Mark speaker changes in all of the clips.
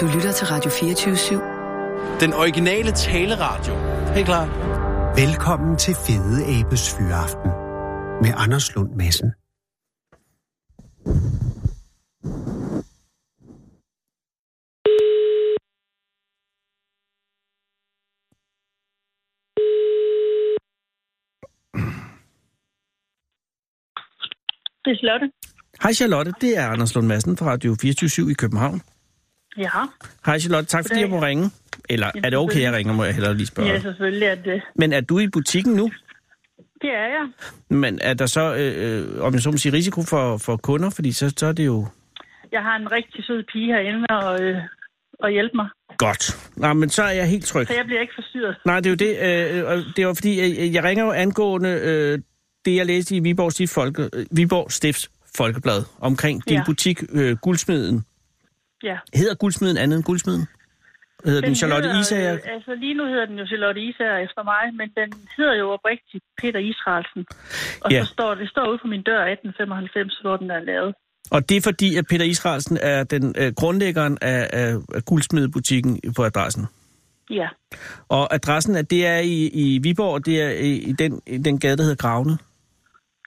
Speaker 1: Du lytter til Radio 24 /7.
Speaker 2: Den originale taleradio. Helt klar.
Speaker 3: Velkommen til Fede Abes Fyraften med Anders Lund Madsen.
Speaker 4: Det er Slotte.
Speaker 5: Hej Charlotte, det er Anders Lund Madsen fra Radio 24 i København.
Speaker 4: Ja.
Speaker 5: Hej Charlotte, tak fordi jeg
Speaker 4: Goddag.
Speaker 5: må ringe. Eller er det okay, jeg ringer, må jeg hellere lige spørge.
Speaker 4: Ja, selvfølgelig er det.
Speaker 5: Men er du i butikken nu?
Speaker 4: Det er jeg.
Speaker 5: Men er der så, øh, øh, om jeg så må sige, risiko for, for kunder? Fordi så, så er det jo
Speaker 4: Jeg har en rigtig sød pige herinde og, øh, og hjælpe mig.
Speaker 5: godt. Nej, men så er jeg helt tryg.
Speaker 4: Så jeg bliver ikke forstyrret.
Speaker 5: Nej, det er jo det. Øh, og det var fordi, øh, jeg ringer jo angående øh, det, jeg læste i Viborg, Stift Folke, øh, Viborg Stifts Folkeblad omkring din
Speaker 4: Ja.
Speaker 5: butik, øh, Guldsmeden.
Speaker 4: Ja.
Speaker 5: Hedder Guldsmeden andet end Guldsmeden? Hedder den, den Charlotte
Speaker 4: hedder,
Speaker 5: Isager?
Speaker 4: øh, Altså lige nu hedder den jo Charlotte Isager efter mig, men den hedder jo oprigtigt Peter Israelsen. Og
Speaker 5: Ja.
Speaker 4: så står det står ude på min dør 1895, hvor den er lavet.
Speaker 5: Og det er fordi, at Peter Israelsen er den øh, grundlæggeren af, af, af guldsmedebutikken på adressen.
Speaker 4: Ja.
Speaker 5: Og adressen, at det er i, i Viborg, og det er i, i, den, i den gade, der hedder Gravne,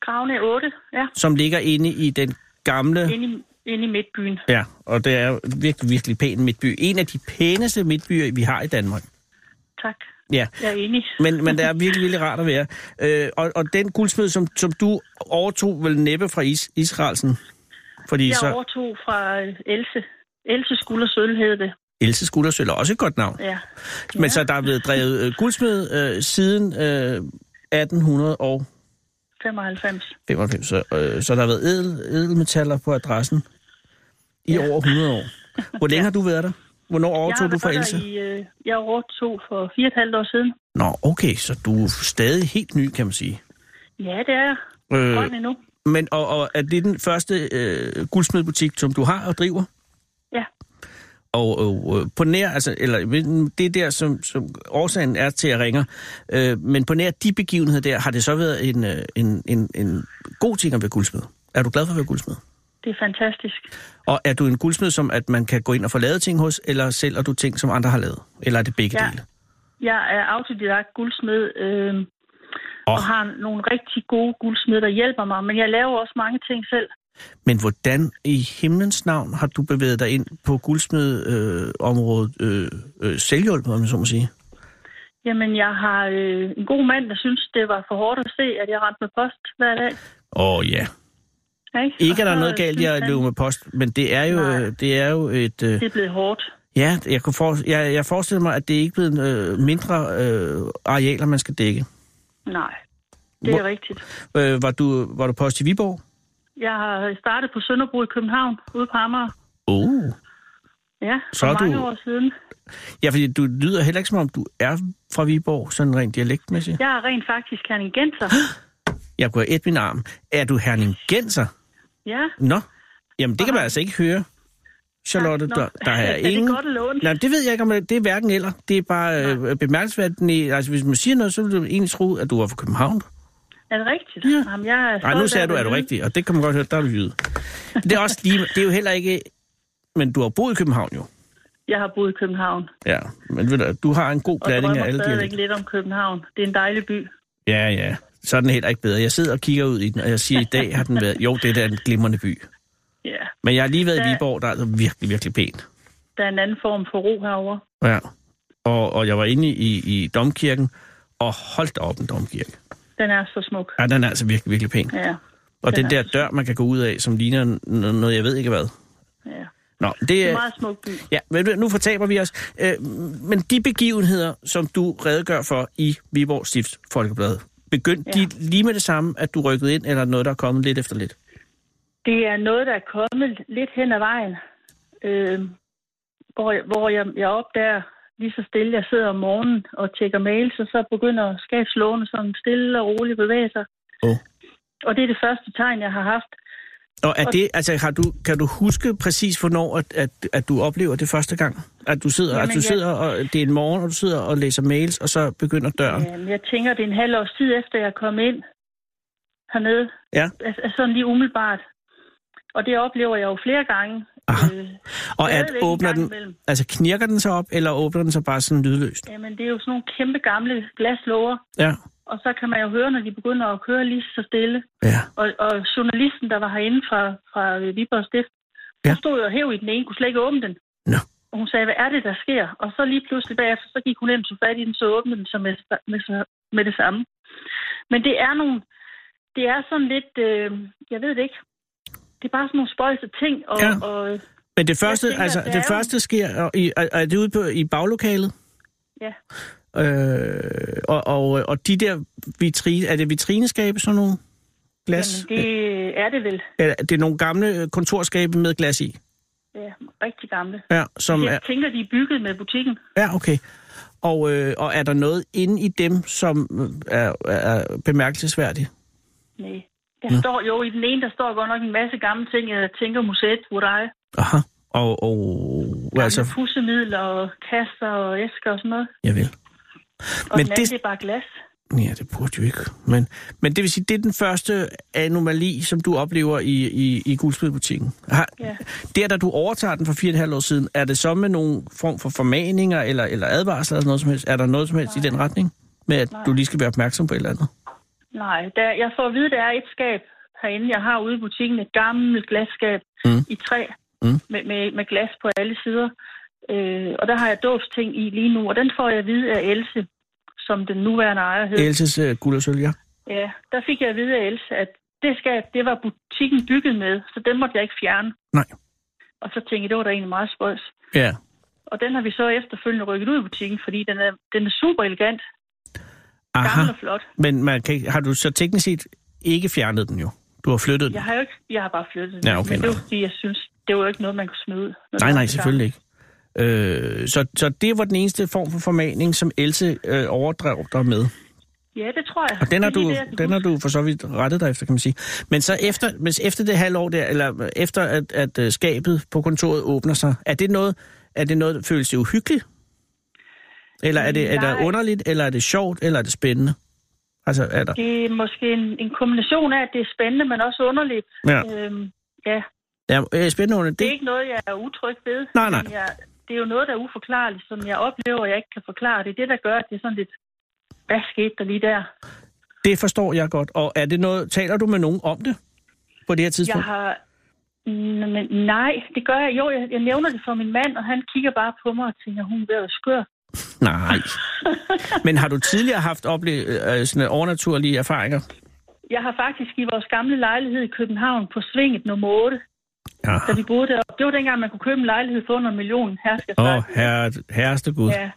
Speaker 4: Gravene 8, ja.
Speaker 5: som ligger inde i den gamle...
Speaker 4: Inde i, inde i midtbyen.
Speaker 5: Ja, og det er jo virkelig, virkelig pæn midtby. En af de pæneste midtbyer, vi har i Danmark.
Speaker 4: Tak.
Speaker 5: Ja,
Speaker 4: Jeg er enig.
Speaker 5: men, men det er virkelig, virkelig rart at være. Øh, og, og den guldsmed, som, som du overtog vel næppe fra Is, Israelsen, fordi
Speaker 4: Jeg
Speaker 5: så
Speaker 4: overtog fra øh, Else. Else Skulder Sølv hed det.
Speaker 5: Else Skuldersøl er også et godt navn.
Speaker 4: Ja.
Speaker 5: Men så der er blevet drevet øh, guldsmed øh, siden øh, 1895,
Speaker 4: 95.
Speaker 5: så, øh, så der har været edel, edelmetaller på adressen i over 100 år. Hvor længe har du været der? Hvornår
Speaker 4: jeg har
Speaker 5: overtog du
Speaker 4: været
Speaker 5: fra
Speaker 4: der
Speaker 5: Else?
Speaker 4: I, øh, jeg overtog for fire og et halvt år siden.
Speaker 5: Nå, okay, så du er stadig helt ny, kan man sige.
Speaker 4: Ja, det er jeg.
Speaker 5: Øh,
Speaker 4: Grøn endnu.
Speaker 5: men og, og er det den første øh, guldsmedbutik, som du har og driver?
Speaker 4: Ja.
Speaker 5: Og, og øh, på nær, altså, eller ved- det er der, som, som årsagen er til, at jeg ringer, øh, men på nær de begivenheder der, har det så været en, øh, en, en, en god ting at være guldsmed? Er du glad for at være guldsmed?
Speaker 4: Det er fantastisk.
Speaker 5: Og er du en guldsmed, som at man kan gå ind og få lavet ting hos, eller sælger du ting, som andre har lavet? Eller er det begge
Speaker 4: Ja.
Speaker 5: dele?
Speaker 4: Jeg er autodidakt guldsmed, øh,
Speaker 5: Åh.
Speaker 4: og har nogle rigtig gode guldsmed, der hjælper mig. Men jeg laver også mange ting selv.
Speaker 5: Men hvordan i himlens navn har du bevæget dig ind på guldsmedområdet øh, området, øh, øh, selvhjulpet, om jeg så må sige?
Speaker 4: Jamen, jeg har øh, en god mand, der synes, det var for hårdt at se, at jeg rendte med post hver dag.
Speaker 5: Åh ja.
Speaker 4: Ikke,
Speaker 5: Ikke er
Speaker 4: Og
Speaker 5: der
Speaker 4: så
Speaker 5: noget galt i
Speaker 4: synes
Speaker 5: at
Speaker 4: han,
Speaker 5: løbe med post, men det er jo,
Speaker 4: Nej.
Speaker 5: øh, det er jo et... Øh,
Speaker 4: Det er blevet hårdt.
Speaker 5: Ja, jeg, kunne for, jeg, jeg forestiller mig, at det ikke er blevet øh, mindre øh, arealer, man skal dække.
Speaker 4: Nej, det er
Speaker 5: Hvor-
Speaker 4: rigtigt.
Speaker 5: Øh, var, du, var du post i Viborg?
Speaker 4: Jeg har startet på Sønderbro i København, ude på Amager.
Speaker 5: Oh.
Speaker 4: Ja, for
Speaker 5: Så er
Speaker 4: mange
Speaker 5: du-
Speaker 4: år siden.
Speaker 5: Ja, fordi du lyder heller ikke, som om du er fra Viborg, sådan rent dialektmæssigt.
Speaker 4: Jeg er rent faktisk herningenser.
Speaker 5: Jeg kunne have et min arm. Er du herningenser?
Speaker 4: Ja.
Speaker 5: Nå, jamen det kan man altså ikke høre, Charlotte.
Speaker 4: Nå,
Speaker 5: Der, der er
Speaker 4: det
Speaker 5: ingen...
Speaker 4: Det er godt at låne.
Speaker 5: Nej, det ved jeg ikke, om det det er hverken eller. Det er bare øh, bemærkelsesværdigt. Nej, Altså, hvis man siger noget, så vil du egentlig tro, at du var fra København.
Speaker 4: Er det rigtigt?
Speaker 5: Ja.
Speaker 4: Jamen, jeg er
Speaker 5: Nej, nu
Speaker 4: stolt af
Speaker 5: sagde
Speaker 4: at
Speaker 5: du, er
Speaker 4: være
Speaker 5: du
Speaker 4: jyde.
Speaker 5: rigtig, og det kan man godt høre, der er du jyde. Det er også lige, det er jo heller ikke, men du har boet i København jo.
Speaker 4: Jeg har boet i København.
Speaker 5: Ja, men ved du, du har en god
Speaker 4: Og
Speaker 5: blanding af
Speaker 4: drømmer
Speaker 5: alle
Speaker 4: stadigvæk
Speaker 5: dialekter.
Speaker 4: lidt om København. Det er en dejlig by.
Speaker 5: Ja, ja, så er den heller ikke bedre. Jeg sidder og kigger ud i den, og jeg siger, i dag har den været, jo, det er da en glimrende by.
Speaker 4: Ja.
Speaker 5: Men jeg har lige været i
Speaker 4: Ja.
Speaker 5: Viborg, der er altså virkelig, virkelig pænt.
Speaker 4: Der er en anden form for ro herover.
Speaker 5: Ja, og, og jeg var inde i, i domkirken, og holdt op en domkirke.
Speaker 4: Den er så smuk.
Speaker 5: Ja, den er altså virkelig, virkelig pæn.
Speaker 4: Ja.
Speaker 5: Og
Speaker 4: den
Speaker 5: den
Speaker 4: er
Speaker 5: der dør, man kan gå ud af, som ligner n- noget, jeg ved ikke hvad.
Speaker 4: ja.
Speaker 5: Nå,
Speaker 4: Det er
Speaker 5: det
Speaker 4: en
Speaker 5: er...
Speaker 4: meget smuk by.
Speaker 5: Ja, men nu fortaber vi os. Øh, men de begivenheder, som du redegør for i Viborg Stifts Folkeblad, begyndte ja.
Speaker 4: Ja.
Speaker 5: de lige med det samme, at du rykkede ind, eller noget, der er kommet lidt efter lidt?
Speaker 4: Det er noget, der er kommet lidt hen ad vejen. Øh, hvor jeg, hvor jeg, jeg opdager lige så stille, jeg sidder om morgenen og tjekker mails, og så begynder skabslåne sådan stille og roligt bevæge sig.
Speaker 5: Åh.
Speaker 4: Og det er det første tegn, jeg har haft.
Speaker 5: Og er det, altså, har du, kan du huske præcis, hvornår at, at, at du oplever det første gang? At du sidder,
Speaker 4: Jamen,
Speaker 5: Jamen, at du
Speaker 4: jeg-
Speaker 5: sidder og det er en morgen, og du sidder og læser mails, og så begynder døren.
Speaker 4: Jamen, Øhm, jeg tænker, det er en halv års tid efter, jeg kom ind hernede.
Speaker 5: Ja.
Speaker 4: Altså, altså sådan lige umiddelbart. Og det oplever jeg jo flere gange,
Speaker 5: Aha.
Speaker 4: Øh,
Speaker 5: Og at
Speaker 4: stadigvæk en
Speaker 5: åbner
Speaker 4: gang
Speaker 5: den,
Speaker 4: imellem.
Speaker 5: altså knirker den sig op, eller åbner den sig bare sådan lydløst?
Speaker 4: Jamen, det er jo sådan nogle kæmpe gamle glaslåger,
Speaker 5: Ja.
Speaker 4: og så kan man jo høre, når de begynder at køre lige så stille.
Speaker 5: Ja.
Speaker 4: Og, og journalisten, der var herinde fra, fra øh, Viborg Stift, ja.
Speaker 5: Ja.
Speaker 4: hun stod jo og hæv i den ene, kunne slet ikke åbne den.
Speaker 5: Nå.
Speaker 4: Og hun sagde, hvad er det, der sker? Og så lige pludselig bagefter, så gik hun ind og fat i den, så åbnede den så med, med, med det samme. Men det er nogle, det er sådan lidt, øh, jeg ved det ikke, det er bare sådan nogle spøjse ting, og,
Speaker 5: Ja.
Speaker 4: ja. og øh,
Speaker 5: Men det første,
Speaker 4: tænker,
Speaker 5: tænker, altså,
Speaker 4: at der
Speaker 5: det
Speaker 4: er jo-
Speaker 5: første sker, og i, er, er det ude på, i baglokalet?
Speaker 4: ja,
Speaker 5: Øh, og, og, og de der vitrine, er det vitrineskabe sådan nogle glas?
Speaker 4: jamen, det er det vel,
Speaker 5: Eller er det nogle gamle øh, kontorskabe med glas i?
Speaker 4: ja, rigtig gamle.
Speaker 5: Ja, som er,
Speaker 4: Jeg tænker, de er bygget med butikken.
Speaker 5: ja okay. Og, øh, og er der noget inde i dem, som øh, er, er bemærkelsesværdigt?
Speaker 4: Nej. Der står jo i den ene, der står godt nok en masse gamle ting. Jeg tænker museet, hvor der er
Speaker 5: Aha. Og, og altså,
Speaker 4: altså... pussemidler og kasser og æsker og sådan noget.
Speaker 5: jeg vil.
Speaker 4: Og
Speaker 5: Men
Speaker 4: Men den anden,
Speaker 5: det-
Speaker 4: det... det er bare glas.
Speaker 5: Ja, det burde jo ikke. Men, men det vil sige, det er den første anomali, som du oplever i, i, i guldspilbutikken. Har, ja.
Speaker 4: Ja.
Speaker 5: Der, da du overtager den for fire og et halvt år siden, er det så med nogen form for formaninger eller, eller advarsler eller noget som helst? Er der noget som helst Nej. i den retning? Med at Nej. du lige skal være opmærksom på et eller andet?
Speaker 4: Nej, der, jeg får at vide, der er et skab herinde. Jeg har ude i butikken et gammelt glasskab
Speaker 5: Mm.
Speaker 4: mm. i træ
Speaker 5: Mm.
Speaker 4: mm. med, med, med glas på alle sider. Øh, og der har jeg dåbsting i lige nu, og den får jeg at vide af Else, som den nuværende ejer hed.
Speaker 5: Elses uh, guld og sølv, ja.
Speaker 4: Ja, der fik jeg at vide af Else, at det skab, det var butikken bygget med, så den måtte jeg ikke fjerne.
Speaker 5: Nej.
Speaker 4: Og så tænkte jeg, det var da egentlig meget spøjs.
Speaker 5: Ja.
Speaker 4: Og den har vi så efterfølgende rykket ud i butikken, fordi den er, den er super elegant, gammel
Speaker 5: Aha.
Speaker 4: og flot.
Speaker 5: Men man kan, ikke- har du så teknisk set ikke fjernet den jo? Du har flyttet den?
Speaker 4: Jeg har jo ikke, jeg har bare flyttet den.
Speaker 5: Ja, okay,
Speaker 4: men det
Speaker 5: nej.
Speaker 4: var fordi, jeg synes, det var jo ikke noget, man kunne smide ud. når
Speaker 5: Nej,
Speaker 4: det var
Speaker 5: nej,
Speaker 4: så
Speaker 5: selvfølgelig ikke. Øh, så, så det var den eneste form for formaning, som Else øh, overdrev dig med.
Speaker 4: gammelt. Ja, det tror jeg.
Speaker 5: Og den har,
Speaker 4: Det er
Speaker 5: du,
Speaker 4: lige det, jeg kan
Speaker 5: den har
Speaker 4: huske.
Speaker 5: du for så vidt rettet dig efter, kan man sige. Men så efter, hvis efter det halvår der, eller efter at, at øh, skabet på kontoret åbner sig, er det noget, er det noget føles det uhyggeligt? Eller er det, er det
Speaker 4: Nej.
Speaker 5: underligt, eller er det sjovt, eller er det spændende? Altså, er der?
Speaker 4: Det er måske en, en kombination af, at det er spændende, men også underligt.
Speaker 5: Ja.
Speaker 4: Øhm, ja,
Speaker 5: Ja, øh, spændende under
Speaker 4: det er
Speaker 5: det.
Speaker 4: ikke noget, jeg er utryg ved.
Speaker 5: Nej, nej.
Speaker 4: Men jeg, det er jo noget, der er uforklarligt, som jeg oplever, jeg ikke kan forklare. Det er det, der gør, at det er sådan lidt, hvad skete der lige der?
Speaker 5: Det forstår jeg godt. Og er det noget, taler du med nogen om det på det her
Speaker 4: Jeg
Speaker 5: tidspunkt?
Speaker 4: har... N- men Nej, det gør jeg. Jo, jeg, jeg nævner det for min mand, og han kigger bare på mig og tænker, hun er ved at være skør.
Speaker 5: Nej. Men har du tidligere haft ople- øh, sådan overnaturlige erfaringer?
Speaker 4: Jeg har faktisk i vores gamle lejlighed i København på Svinget nummer 8,
Speaker 5: Ja.
Speaker 4: da vi boede deroppe. Det var dengang, man kunne købe en lejlighed for under en million. Her skal jeg
Speaker 5: Åh, oh,
Speaker 4: snakke.
Speaker 5: herre, herreste Gud.
Speaker 4: Ja.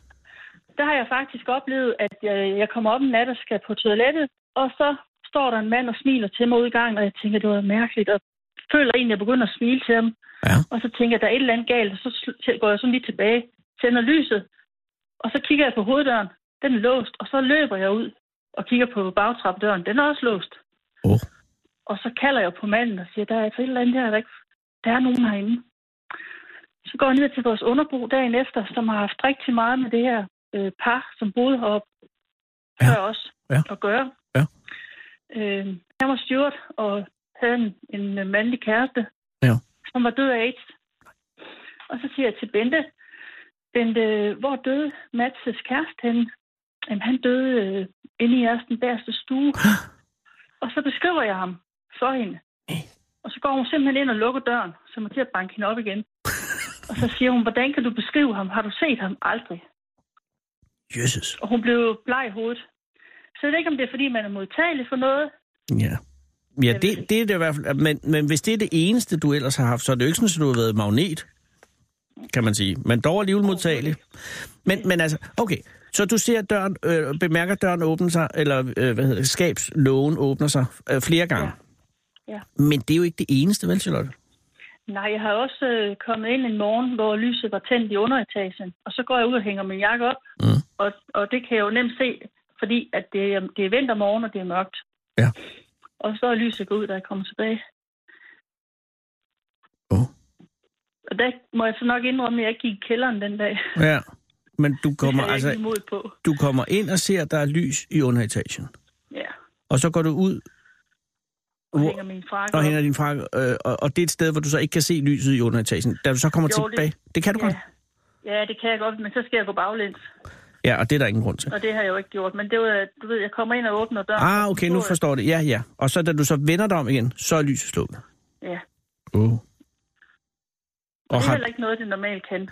Speaker 4: Der har jeg faktisk oplevet, at øh, jeg, jeg kommer op en nat og skal på toilettet, og så står der en mand og smiler til mig ud i gangen, og jeg tænker, det var mærkeligt, og føler egentlig, at jeg begynder at smile til ham.
Speaker 5: Ja.
Speaker 4: Og så tænker jeg, der er et eller andet galt, og så sl- til- går jeg sådan lige tilbage, tænder lyset, og så kigger jeg på hoveddøren, den er låst, og så løber jeg ud og kigger på bagtrappedøren, den er også låst.
Speaker 5: Åh.
Speaker 4: Og så kalder jeg på manden og siger, der er altså et eller andet her, der, ikke... der er nogen herinde. Så går jeg ned til vores underbo dagen efter, som har haft rigtig meget med det her øh, par, som boede heroppe
Speaker 5: Ja.
Speaker 4: ja. før os
Speaker 5: Ja.
Speaker 4: at gøre.
Speaker 5: Ja.
Speaker 4: Øh, han var styrt og havde en, en øh, mandlig kæreste,
Speaker 5: Ja.
Speaker 4: som var død af AIDS. Og så siger jeg til Bente, Bente, hvor døde Matses kæreste henne? Jamen, han døde øh, inde i jeres den bagerste stue. og så beskriver jeg ham for hende. Og så går hun simpelthen ind og lukker døren, så man til at banke hende op igen. Og så siger hun, hvordan kan du beskrive ham? Har du set ham? Aldrig.
Speaker 5: Jesus.
Speaker 4: Og hun blev bleg i hovedet. Så jeg ved ikke, om det er, fordi man er modtagelig for noget.
Speaker 5: Ja. Ja,
Speaker 4: ved
Speaker 5: det,
Speaker 4: det.
Speaker 5: det er det i hvert fald. Men, men hvis det er det eneste, du ellers har haft, så er det jo ikke sådan, at du har været magnet, kan man sige. Men dog alligevel modtagelig. Men, men altså, okay. Så du ser døren, øh, bemærker døren åbne sig, eller øh, hvad hedder det, skabslågen åbner sig øh, flere gange.
Speaker 4: Ja. Ja.
Speaker 5: Men det er jo ikke det eneste, vel, Charlotte?
Speaker 4: Nej, jeg har også øh, kommet ind en morgen, hvor lyset var tændt i underetagen. Og så går jeg ud og hænger min jakke op.
Speaker 5: Mm.
Speaker 4: Og, og det kan jeg jo nemt se, fordi at det, er- det er vintermorgen, og det er mørkt.
Speaker 5: Ja.
Speaker 4: Og så er lyset gået ud, da jeg kommer tilbage.
Speaker 5: Åh.
Speaker 4: Og der må jeg så nok indrømme, at jeg ikke gik i kælderen den dag.
Speaker 5: Ja. Men du
Speaker 4: Det
Speaker 5: kommer,
Speaker 4: havde jeg ikke
Speaker 5: altså,
Speaker 4: imod på.
Speaker 5: du kommer ind og ser, at der er lys i underetagen.
Speaker 4: Ja.
Speaker 5: Og så går du ud
Speaker 4: og
Speaker 5: Hvor-
Speaker 4: hænger min frakke
Speaker 5: og
Speaker 4: op.
Speaker 5: hænger din frakke, øh, og, og det er et sted, hvor du så ikke kan se lyset i underetagen. Da du så kommer
Speaker 4: Jo, det-
Speaker 5: tilbage, det, det kan du
Speaker 4: ja.
Speaker 5: godt.
Speaker 4: Ja, det kan jeg godt, men så skal jeg gå baglæns,
Speaker 5: Ja, og det er der ingen grund til.
Speaker 4: og det har jeg jo ikke gjort. Men det var, du ved, jeg kommer ind og åbner døren.
Speaker 5: Ah, okay, nu
Speaker 4: Så-
Speaker 5: forstår jeg det. Ja, ja. Og så da du så vender dig om igen, så er lyset slukket.
Speaker 4: Ja,
Speaker 5: Oh.
Speaker 4: og
Speaker 5: Og
Speaker 4: det er
Speaker 5: har,
Speaker 4: heller ikke noget, det normalt kan.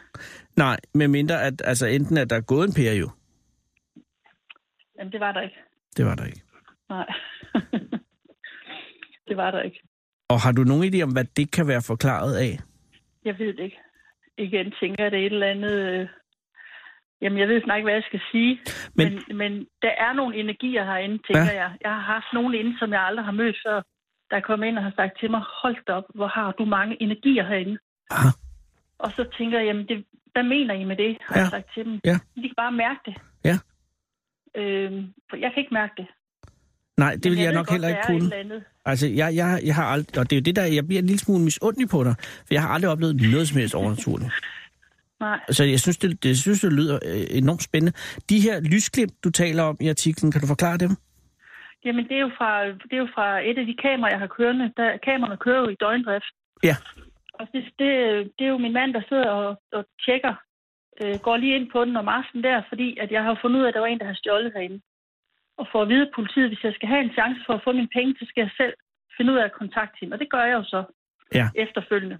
Speaker 5: nej, med mindre at altså enten at der er gået en pære jo.
Speaker 4: Jamen, det var der ikke.
Speaker 5: Det var der ikke.
Speaker 4: Nej. det var der ikke.
Speaker 5: Og har du nogen idé om, hvad det kan være forklaret af?
Speaker 4: Jeg ved det ikke. Igen tænker jeg, det er et eller andet... Øh... Jamen, jeg ved snart ikke, hvad jeg skal sige. Men,
Speaker 5: Men-
Speaker 4: men, men der er nogle energier herinde, tænker
Speaker 5: Ja.
Speaker 4: jeg. Jeg har haft nogen inde, som jeg aldrig har mødt før, der er kommet ind og har sagt til mig, hold da op, hvor har du mange energier herinde.
Speaker 5: Aha.
Speaker 4: Og så tænker jeg, jamen, det, hvad mener I med det, har
Speaker 5: Ja.
Speaker 4: jeg sagt til dem.
Speaker 5: Ja.
Speaker 4: De kan bare mærke det.
Speaker 5: Ja.
Speaker 4: Øhm, for jeg kan ikke mærke det.
Speaker 5: Nej, det
Speaker 4: Men
Speaker 5: vil jeg,
Speaker 4: ved
Speaker 5: nok
Speaker 4: godt,
Speaker 5: heller
Speaker 4: der
Speaker 5: ikke
Speaker 4: er
Speaker 5: kunne.
Speaker 4: Et eller andet.
Speaker 5: Altså, jeg, jeg, jeg har aldrig, og det er jo det der, jeg bliver en lille smule misundelig på dig, for jeg har aldrig oplevet noget som helst overnaturligt.
Speaker 4: Nej,
Speaker 5: Så jeg synes, det, det, synes, det lyder øh, enormt spændende. De her lysglimt, du taler om i artiklen, kan du forklare dem?
Speaker 4: jamen det er, jo fra, det er jo fra et af de kameraer, jeg har kørende. Der, kameraerne kører jo i døgndrift.
Speaker 5: Ja.
Speaker 4: Og det, det, det er jo min mand, der sidder og, og tjekker, øh, går lige ind på den om aftenen der, fordi at jeg har fundet ud af, at der var en, der har stjålet herinde. Og for at vide af politiet, hvis jeg skal have en chance for at få mine penge, så skal jeg selv finde ud af at kontakte hende. Og det gør jeg jo så
Speaker 5: Ja.
Speaker 4: efterfølgende.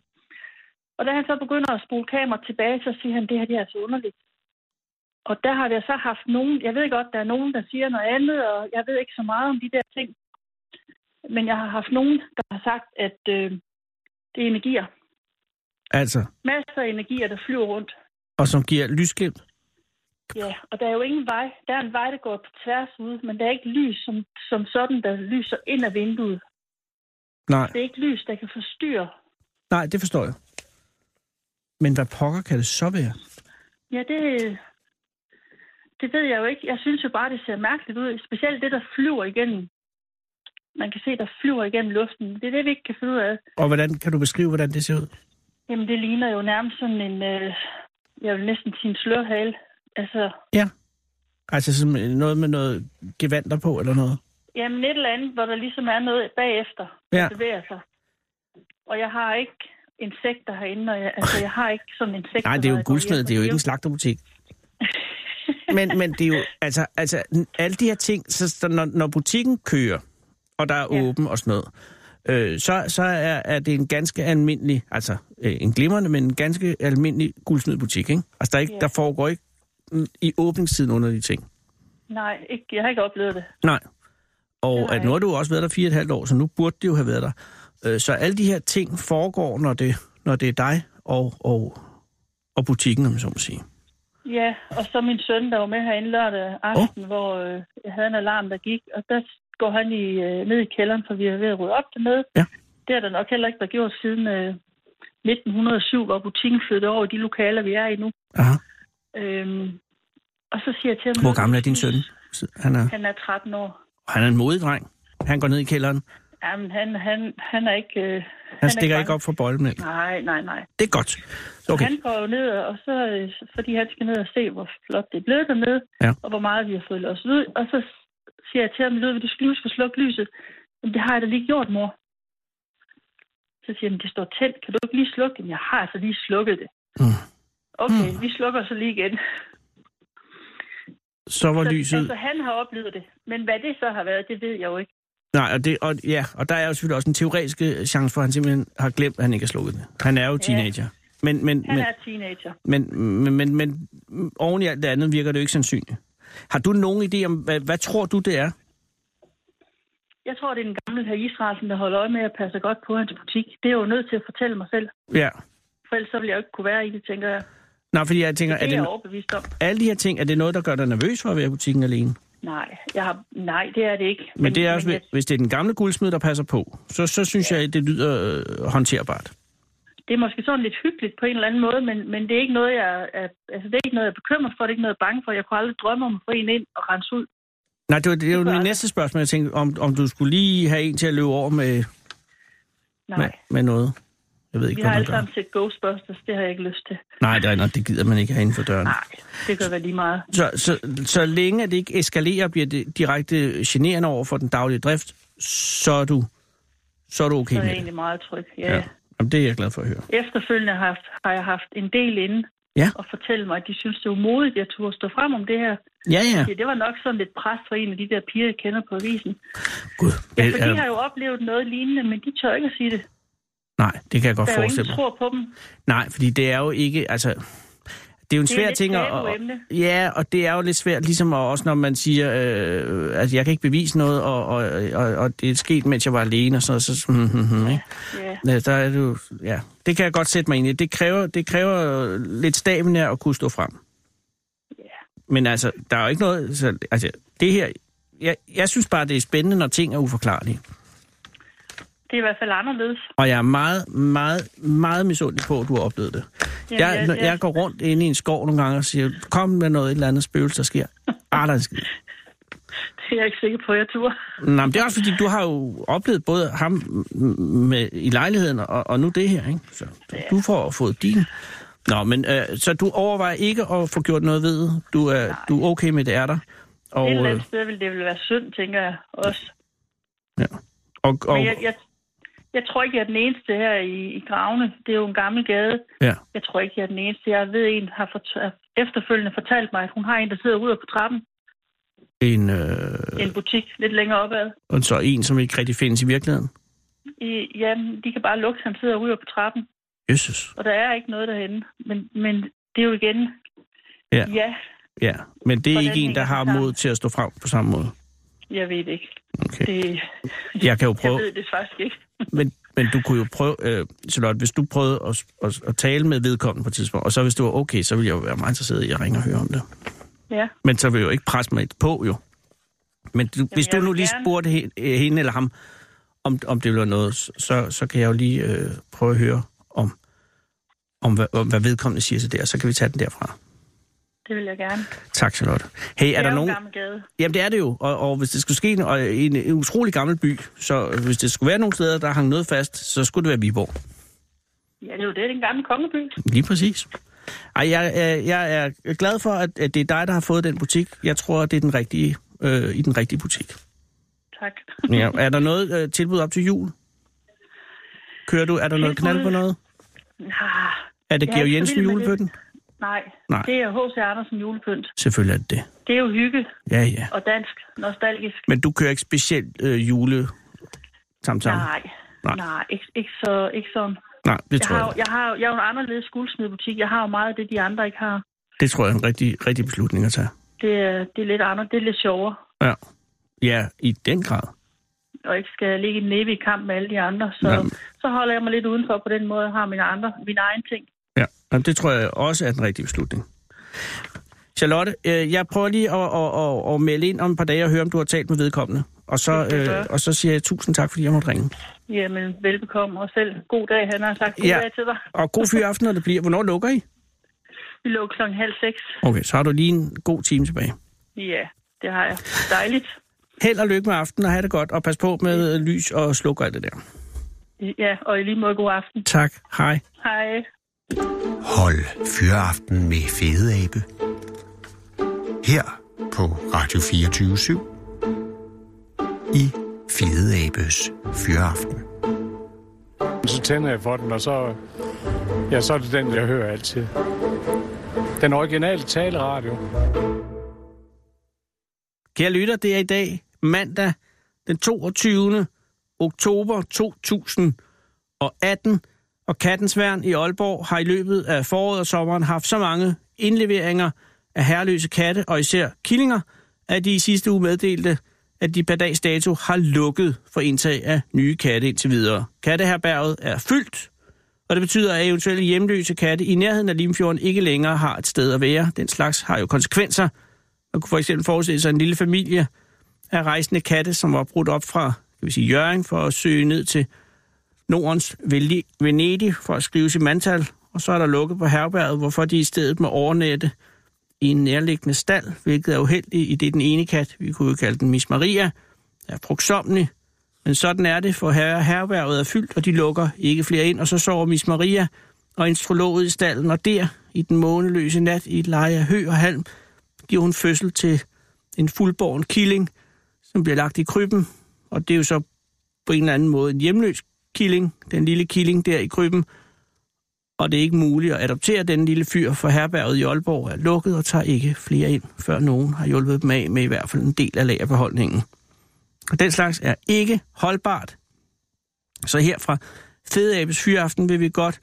Speaker 4: Og da han så begynder at spole kameraet tilbage, så siger han, det her det er så underligt. Og der har jeg så haft nogen, jeg ved godt, der er nogen, der siger noget andet, og jeg ved ikke så meget om de der ting. Men jeg har haft nogen, der har sagt, at øh, det er energier.
Speaker 5: Altså,
Speaker 4: Masser af energier, der flyver rundt.
Speaker 5: og som giver lysglimt.
Speaker 4: Ja, og der er jo ingen vej. Der er en vej, der går på tværs ud, men der er ikke lys som, som sådan, der lyser ind ad vinduet.
Speaker 5: Nej,
Speaker 4: Det er ikke lys, der kan forstyrre.
Speaker 5: nej, det forstår jeg. Men hvad pokker kan det så være?
Speaker 4: Ja, det, det ved jeg jo ikke. Jeg synes jo bare, det ser mærkeligt ud. Specielt det, der flyver igennem. Man kan se, der flyver igennem luften. Det er det, vi ikke kan finde ud af.
Speaker 5: Og hvordan kan du beskrive, hvordan det ser ud?
Speaker 4: Jamen, det ligner jo nærmest sådan en, øh, jeg vil næsten sige en slørhale. Altså,
Speaker 5: Altså som øh, noget med noget gevanter på eller noget?
Speaker 4: Jamen et eller andet, hvor der ligesom er noget bagefter, der
Speaker 5: Ja.
Speaker 4: bevæger sig. Og jeg har ikke insekter herinde, og jeg, altså, jeg har ikke sådan insekter.
Speaker 5: Nej, det er
Speaker 4: når
Speaker 5: jo
Speaker 4: jeg går
Speaker 5: guldsmed,
Speaker 4: hjem.
Speaker 5: det er jo ikke en slagterbutik. Men, men det er jo, altså, altså n- alle de her ting, så, så når, når butikken kører, og der er
Speaker 4: Ja.
Speaker 5: åben og sådan noget, øh, så, så er, er det en ganske almindelig, altså øh, en glimrende, men en ganske almindelig guldsmedbutik, ikke? Altså der, er ikke,
Speaker 4: Ja.
Speaker 5: der foregår ikke mm, i åbningstiden under de ting.
Speaker 4: Nej, ikke, jeg har ikke oplevet det.
Speaker 5: Nej. Og
Speaker 4: Nej.
Speaker 5: At nu har du også været der fire og et halvt år, så nu burde det jo have været der. Øh, Så alle de her ting foregår, når det, når det er dig og, og, og butikken, om jeg så må sige.
Speaker 4: Ja, og så min søn, der var med herinde lørdag aften, oh. hvor øh, jeg havde en alarm, der gik, og der går han i, øh, ned i kælderen, for vi er ved at rydde op dernede.
Speaker 5: Ja.
Speaker 4: Det har der nok heller ikke været gjort siden øh, 1907, hvor butikken flyttede over i de lokaler, vi er i nu.
Speaker 5: Aha.
Speaker 4: Øhm, og så siger jeg til ham...
Speaker 5: Hvor gammel er din søn? Han er,
Speaker 4: Han er 13 år.
Speaker 5: han er en modig dreng. Han går ned i kælderen.
Speaker 4: Jamen, han, han, han er ikke... Øh, han,
Speaker 5: Han
Speaker 4: er
Speaker 5: stikker
Speaker 4: bange.
Speaker 5: ikke op for bolden. eller-
Speaker 4: Nej, nej, nej.
Speaker 5: Det er godt.
Speaker 4: Okay.
Speaker 5: Okay.
Speaker 4: Han går jo ned, og så, øh, fordi han skal ned og se, hvor flot det er blevet dernede,
Speaker 5: Ja.
Speaker 4: og hvor meget vi har fået os ud. Og så siger jeg til ham, Ludvig, du skal lige huske at slukke lyset. Jamen, det har jeg da lige gjort, mor. Så siger han, det står tændt, kan du ikke lige slukke det? "Men Jeg har altså lige slukket det.
Speaker 5: Mm.
Speaker 4: Okay, vi slukker så lige igen.
Speaker 5: Så var
Speaker 4: Så, altså,
Speaker 5: lyset...
Speaker 4: han har oplevet det. Men hvad det så har været, det ved jeg jo ikke.
Speaker 5: Nej, og, det, og, ja, og der er jo selvfølgelig også en teoretisk øh, chance for, at han simpelthen har glemt, at han ikke har slukket det. Han er jo teenager. Men, men,
Speaker 4: Han
Speaker 5: men,
Speaker 4: er teenager.
Speaker 5: Men, men, men, men oven i alt det andet virker det jo ikke sandsynligt. Har du nogen idé om, hvad, hvad tror du, det er?
Speaker 4: Jeg tror, det er den gamle her Israelsen, der holder øje med at passe godt på hans butik. Det er jeg jo nødt til at fortælle mig selv,
Speaker 5: Ja.
Speaker 4: for ellers så ville jeg jo ikke kunne være i det, tænker jeg.
Speaker 5: Nå, fordi jeg tænker,
Speaker 4: Det
Speaker 5: er
Speaker 4: er jeg
Speaker 5: det,
Speaker 4: overbevist om.
Speaker 5: alle de her ting, er det noget, der gør dig nervøs for at være i butikken alene?
Speaker 4: Nej, jeg har... Nej, det er det ikke.
Speaker 5: Men det er også,
Speaker 4: men jeg,
Speaker 5: hvis det er den gamle guldsmed, der passer på, så, så synes ja. jeg, det lyder øh, håndterbart.
Speaker 4: det er måske sådan lidt hyggeligt på en eller anden måde, men, men det er ikke noget, jeg er, altså, det er ikke noget, jeg er bekymret for, det er ikke noget, jeg er bange for. Jeg kunne aldrig drømme om at få en ind og rense ud.
Speaker 5: Nej, det var, det var
Speaker 4: gør
Speaker 5: min
Speaker 4: det.
Speaker 5: næste spørgsmål. Jeg tænkte, om, om du skulle lige have en til at løbe over med,
Speaker 4: Nej,
Speaker 5: med, med noget. Jeg ved ikke,
Speaker 4: vi har
Speaker 5: hvad man
Speaker 4: alle
Speaker 5: gør.
Speaker 4: sammen set Ghostbusters, det har jeg ikke lyst til.
Speaker 5: Nej, det, er, nok- det gider man ikke have inden for døren.
Speaker 4: Nej, det kan være lige meget.
Speaker 5: Så, så, så længe at det ikke eskalerer og bliver det direkte generende over for den daglige drift, så er du så er du okay
Speaker 4: så er
Speaker 5: med
Speaker 4: jeg
Speaker 5: det.
Speaker 4: egentlig meget tryg. Ja.
Speaker 5: Ja.
Speaker 4: ja.
Speaker 5: Jamen, det er jeg glad for at høre.
Speaker 4: Efterfølgende har, jeg haft- har jeg haft en del inde
Speaker 5: Ja.
Speaker 4: og fortælle mig, at de synes, det var modigt, at jeg turde stå frem om det her.
Speaker 5: Ja, ja.
Speaker 4: Ja, det var nok sådan lidt pres for en af de der piger, jeg kender på avisen.
Speaker 5: Gud. Øh,
Speaker 4: Ja,
Speaker 5: det
Speaker 4: for
Speaker 5: er-
Speaker 4: de har jo oplevet noget lignende, men de tør ikke at sige det.
Speaker 5: Nej, det kan jeg godt
Speaker 4: Der er jo ingen,
Speaker 5: forestille
Speaker 4: der
Speaker 5: mig.
Speaker 4: tror på dem.
Speaker 5: Nej, fordi det er jo ikke, altså... Det er jo en
Speaker 4: Det er
Speaker 5: svær
Speaker 4: lidt
Speaker 5: ting at...
Speaker 4: tabuemne.
Speaker 5: Ja, og det er jo lidt svært, ligesom og også når man siger, øh, altså jeg kan ikke bevise noget, og, og, og, og det er sket, mens jeg var alene, og sådan noget, så... Hmm, hmm, hmm, ikke?
Speaker 4: Ja,
Speaker 5: Ja, der er det jo, ja, det kan jeg godt sætte mig ind i. Det kræver, det kræver lidt stamina at kunne stå frem. Men altså, der er jo ikke noget... Så, altså, det her... Jeg, jeg synes bare, det er spændende, når ting er uforklarlige.
Speaker 4: det er i hvert fald anderledes.
Speaker 5: Og jeg er meget, meget, meget misundelig på, at du har oplevet det.
Speaker 4: Jamen,
Speaker 5: jeg,
Speaker 4: jeg-
Speaker 5: når
Speaker 4: jeg-
Speaker 5: jeg går rundt inde i en skov nogle gange og siger, kom med noget, et eller andet spøgelse, der sker. Ah, der er en skid.
Speaker 4: Det er jeg ikke sikker på, jeg turde.
Speaker 5: Nå, men det er også fordi, du har jo oplevet både ham m- med, i lejligheden og, og nu det her, ikke? Så du, du får fået din. Nå, men øh, så du overvejer ikke at få gjort noget ved det. Du er, du er okay med, det er der. Og,
Speaker 4: Et eller
Speaker 5: øh,
Speaker 4: andet sted ville det vel være synd, tænker jeg også.
Speaker 5: ja. og, og,
Speaker 4: Men jeg, jeg, jeg tror ikke, jeg er den eneste her i, i Gravene. Det er jo en gammel gade.
Speaker 5: ja.
Speaker 4: Jeg tror ikke, jeg er den eneste. Jeg ved, en har fort- efterfølgende fortalt mig, at hun har en, der sidder ude på trappen.
Speaker 5: En, øh,
Speaker 4: i En butik lidt længere opad.
Speaker 5: og så en, som ikke rigtig findes i virkeligheden.
Speaker 4: I, ja, de kan bare lugte, han sidder ude på trappen.
Speaker 5: Jesus.
Speaker 4: Og der er ikke noget derhen. Men, men det er jo igen...
Speaker 5: Ja.
Speaker 4: ja,
Speaker 5: Ja, men det er
Speaker 4: Hvordan
Speaker 5: ikke en,
Speaker 4: hænger
Speaker 5: der
Speaker 4: det
Speaker 5: har
Speaker 4: sammen?
Speaker 5: mod til at stå frem på samme måde.
Speaker 4: jeg ved det ikke.
Speaker 5: Okay.
Speaker 4: Det,
Speaker 5: Jeg kan jo
Speaker 4: jeg
Speaker 5: prøve,
Speaker 4: ved det faktisk ikke.
Speaker 5: men, men du kunne jo prøve, øh, Charlotte, hvis du prøvede at, at, at tale med vedkommende på et tidspunkt, og så hvis du var okay, så ville jeg jo være meget interesseret i at ringe og høre om det.
Speaker 4: Ja.
Speaker 5: Men så vil jeg jo ikke presse mig på, jo. Men du, hvis
Speaker 4: jeg
Speaker 5: du nu
Speaker 4: vil
Speaker 5: lige
Speaker 4: gerne-
Speaker 5: spurgte he- øh, hende eller ham, om, om det var noget, så, så kan jeg jo lige øh, prøve at høre om, om, hvad, om, hvad vedkommende siger til det, og så kan vi tage den derfra.
Speaker 4: Det vil jeg gerne.
Speaker 5: Tak, Charlotte. Hey, er
Speaker 4: det
Speaker 5: der
Speaker 4: jo
Speaker 5: nogen...
Speaker 4: en gammel gade.
Speaker 5: Jamen, det er det jo. Og, og hvis det skulle ske i en, og en, en utrolig gammel by, så hvis det skulle være nogle steder, der hang noget fast, så skulle det være Viborg.
Speaker 4: Ja, det er jo det. Det er en gammel kongeby.
Speaker 5: Lige præcis. Ej, jeg, jeg, jeg er glad for, at, at det er dig, der har fået den butik. Jeg tror, at det er den rigtige, øh, i den rigtige butik.
Speaker 4: Tak.
Speaker 5: Ja. Er der noget øh, tilbud op til jul? Kører du? Er der noget knald på noget? Mm.
Speaker 4: Nah,
Speaker 5: Er det
Speaker 4: Jeg er
Speaker 5: Georg
Speaker 4: ikke så
Speaker 5: Jensen
Speaker 4: vild med det.
Speaker 5: julepytten?
Speaker 4: Ah, nej,
Speaker 5: Nej.
Speaker 4: det er H.C. Andersen julepynt.
Speaker 5: Selvfølgelig er det det.
Speaker 4: Det er jo hygge
Speaker 5: Ja, ja.
Speaker 4: og dansk, nostalgisk.
Speaker 5: Men du kører ikke specielt øh, jule samtale?
Speaker 4: Nej,
Speaker 5: Nej.
Speaker 4: nej, nej ikke, ikke, så, ikke sådan.
Speaker 5: Nej, det
Speaker 4: Jeg
Speaker 5: tror
Speaker 4: har,
Speaker 5: jeg.
Speaker 4: jo- jeg har jo- jeg er jo en anderledes guldsmedbutik. Jeg har jo meget af det, de andre ikke har.
Speaker 5: Det tror jeg er en rigtig, rigtig beslutning at tage.
Speaker 4: Det, er- det er lidt andet, det er lidt sjovere.
Speaker 5: Ja. Ja, i den grad.
Speaker 4: Og ikke skal ligge i næbe i kamp med alle de andre. Så,
Speaker 5: Jamen.
Speaker 4: så holder jeg mig lidt udenfor på den måde. Jeg har mine, andre, mine egen ting.
Speaker 5: Ja, Jamen, det tror jeg også er den rigtige beslutning. Charlotte, øh, jeg prøver lige at, at, at, at melde ind om et par dage og høre, om du har talt med vedkommende. Og så,
Speaker 4: Det skal jeg
Speaker 5: øh,
Speaker 4: gøre.
Speaker 5: og så siger jeg tusind tak, fordi jeg måtte ringe.
Speaker 4: Jamen, velbekomme. Og selv god dag, han har sagt. God
Speaker 5: Ja.
Speaker 4: ja. dag til dig.
Speaker 5: Og god fyraften, når det bliver. Hvornår lukker I?
Speaker 4: Vi lå klokken halv seks.
Speaker 5: Okay, så har du lige en god time tilbage.
Speaker 4: Ja, det har jeg. Dejligt.
Speaker 5: Held og lykke med aftenen, og have det godt. Og pas på med øh, lys og sluk og alt det der.
Speaker 4: Ja, og i lige måde god aften.
Speaker 5: Tak. Hej.
Speaker 4: Hej.
Speaker 3: Hold Fyraften med Fede Abe. Her på Radio 24 7. I Fede Abes Fyraften.
Speaker 6: Så tænder jeg for den, og så, ja, så er det den, jeg hører altid. Den originale taleradio.
Speaker 5: Kære lytter, det er i dag mandag den 22. oktober 2018, og Kattens Værn i Aalborg har i løbet af foråret og sommeren haft så mange indleveringer af herreløse katte og især killinger, at de i sidste uge meddelte, at de per dags dato har lukket for indtag af nye katte indtil videre. Katteherberget er fyldt, og det betyder, at eventuelle hjemløse katte i nærheden af Limfjorden ikke længere har et sted at være. Den slags har jo konsekvenser, man kunne for eksempel forestille sig en lille familie af rejsende katte, som var brudt op fra kan vi sige, Jøring for at søge ned til Nordens Vel- Venedig for at skrive sit mandtal, og så er der lukket på herberget, hvorfor de i stedet må overnatte i en nærliggende stald, hvilket er uheldigt, i det den ene kat, vi kunne jo kalde den Miss Maria, er frugtsomlig. Men sådan er det, for her herberget er fyldt, og de lukker ikke flere ind, og så sover Miss Maria og en strolog ud i stallen, og der, i den måneløse nat, i et leje af hø og halm, giver hun fødsel til en fuldborn killing, som bliver lagt i krybben, og det er jo så på en eller anden måde en hjemløs killing, den lille killing der i krybben, og det er ikke muligt at adoptere den lille fyr, for herberget i Aalborg er lukket og tager ikke flere ind, før nogen har hjulpet dem af med i hvert fald en del af lagerbeholdningen. Og den slags er ikke holdbart. Så her fra Fede Abes Fyraften vil vi godt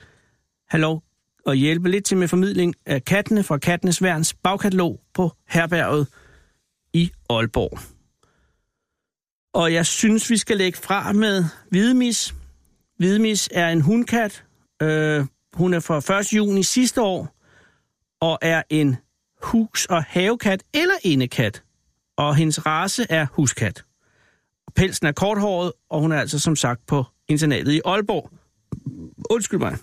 Speaker 5: have lov at hjælpe lidt til med formidling af kattene fra Kattenes Værns bagkatalog på herberget i Aalborg. Og jeg synes, vi skal lægge fra med Hvidemis. Hvidemis er en hundkat. Øh, hun er fra 1. juni sidste år og er en hus- og havekat eller indekat. Og hendes race er huskat. Pelsen er korthåret, og hun er altså som sagt på internatet i Aalborg. Undskyld mig.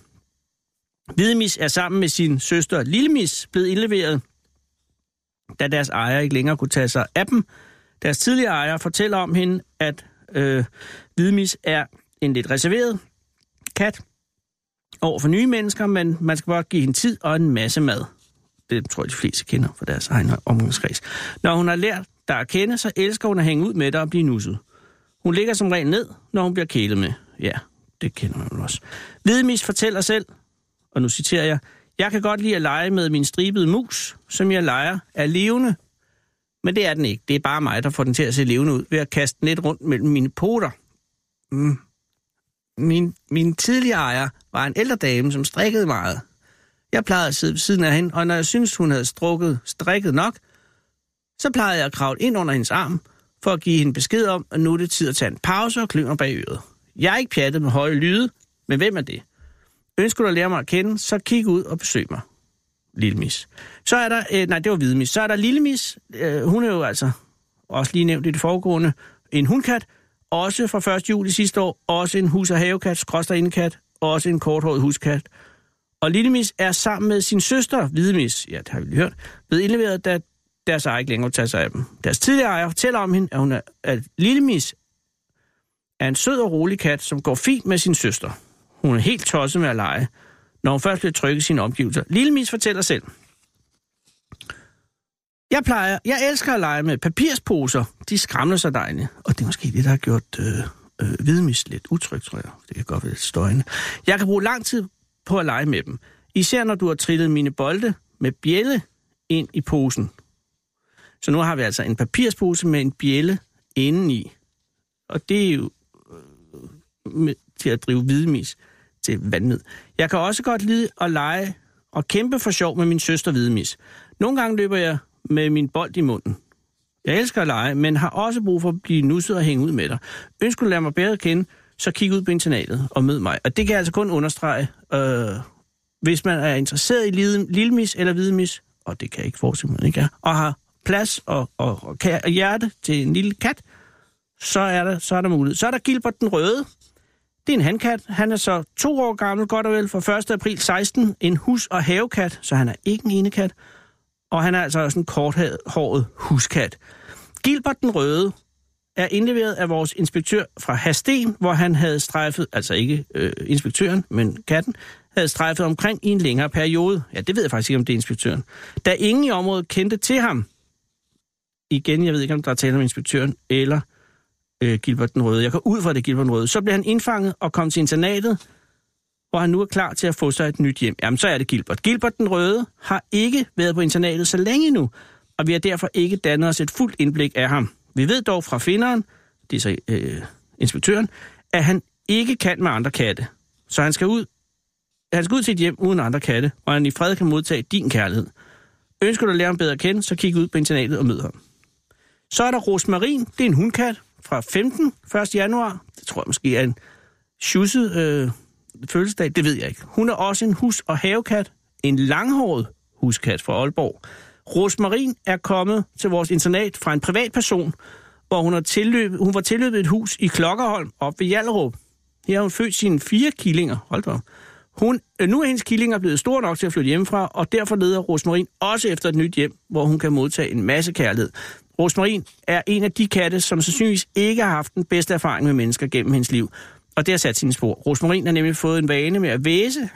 Speaker 5: Hvidemis er sammen med sin søster Lillemis blevet indleveret, da deres ejer ikke længere kunne tage sig af dem. Deres tidligere ejer fortæller om hende, at øh, Hvidemis er en lidt reserveret kat over for nye mennesker, men man skal bare give hende tid og en masse mad. Det tror jeg, de fleste kender fra deres egen omgangskreds. Når hun har lært dig at kende, så elsker hun at hænge ud med dig og blive nusset. Hun ligger som regel ned, når hun bliver kælet med. Ja, det kender man jo også. Hvidemis fortæller selv, og nu citerer jeg, jeg kan godt lide at lege med min stribede mus, som jeg leger er levende. Men det er den ikke. Det er bare mig, der får den til at se levende ud ved at kaste den lidt rundt mellem mine poter. Mm. Min, min tidligere ejer var en ældre dame, som strikkede meget. Jeg plejede at sidde ved siden af hende, og når jeg syntes, hun havde strukket, strikket nok, så plejede jeg at kravle ind under hendes arm, for at give hende besked om, at nu er det tid at tage en pause og klynger bag øret. Jeg er ikke pjattet med høje lyde, men hvem er det? Ønsker du at lære mig at kende, så kig ud og besøg mig. Lille Mis. Så er der, øh, nej det var Hvide Mis, så er der Lille Mis, øh, hun er jo altså, også lige nævnt i det foregående, en hundkat, også fra 1. juli sidste år, også en hus- og havekat, skråster indekat, også en korthåret huskat. Og Lille Mis er sammen med sin søster, Hvide Mis, ja det har vi lige hørt, blevet indleveret, da deres ejer ikke længere tager sig af dem. Deres tidligere ejer fortæller om hende, at, hun er, at Lille Mis er en sød og rolig kat, som går fint med sin søster. Hun er helt tosset med at lege, når hun først bliver trykket i sine omgivelser. Lille Mis fortæller selv. Jeg plejer, jeg elsker at lege med papirsposer. De skramler så dejligt. Og det er måske det, der har gjort øh, øh, hvidmis lidt utrygt, tror jeg. Det kan godt være lidt støjende. Jeg kan bruge lang tid på at lege med dem. Især når du har trillet mine bolde med bjælle ind i posen. Så nu har vi altså en papirspose med en bjælle indeni. Og det er jo med, til at drive hvidemis til vanvid. Jeg kan også godt lide at lege og kæmpe for sjov med min søster hvidemis. Nogle gange løber jeg med min bold i munden. Jeg elsker at lege, men har også brug for at blive nusset og hænge ud med dig. Ønsker du at lære mig bedre at kende, så kig ud på internatet og mød mig. Og det kan jeg altså kun understrege, øh, hvis man er interesseret i lille, lillemis eller hvidemis, og det kan jeg ikke forestille mig, man ikke er, og har plads og, og, og, kær- og hjerte til en lille kat, så er der, så er der mulighed. Så er der Gilbert den Røde, det er en hankat. Han er så to år gammel, godt og vel, fra 1. april 16. En hus- og havekat, så han er ikke en enekat. Og han er altså også en korthåret huskat. Gilbert den Røde er indleveret af vores inspektør fra Hasten, hvor han havde strejfet, altså ikke øh, inspektøren, men katten, havde strejfet omkring i en længere periode. Ja, det ved jeg faktisk ikke, om det er inspektøren. Da ingen i området kendte til ham, igen, jeg ved ikke, om der er tale om inspektøren, eller øh, Gilbert den Røde. Jeg går ud fra det, er Gilbert den Røde. Så blev han indfanget og kom til internatet, hvor han nu er klar til at få sig et nyt hjem. Jamen, så er det Gilbert. Gilbert den Røde har ikke været på internatet så længe nu, og vi har derfor ikke dannet os et fuldt indblik af ham. Vi ved dog fra finderen, det er så øh, inspektøren, at han ikke kan med andre katte. Så han skal ud han skal ud til et hjem uden andre katte, og han i fred kan modtage din kærlighed. Ønsker du at lære ham bedre at kende, så kig ud på internatet og mød ham. Så er der Rosmarin, det er en hundkat fra 15. 1. januar. Det tror jeg måske er en tjusset øh, fødselsdag, det ved jeg ikke. Hun er også en hus- og havekat, en langhåret huskat fra Aalborg. Rosmarin er kommet til vores internat fra en privatperson, hvor hun, er tilløb, hun var tilløbet et hus i Klokkerholm op ved Jallerup. Her har hun født sine fire killinger. Hold da op. Hun, øh, nu er hendes killinger blevet store nok til at flytte hjemmefra, og derfor leder Rosmarin også efter et nyt hjem, hvor hun kan modtage en masse kærlighed. Rosmarin er en af de katte, som sandsynligvis ikke har haft den bedste erfaring med mennesker gennem hendes liv. Og det har sat sine spor. Rosmarin har nemlig fået en vane med at væse.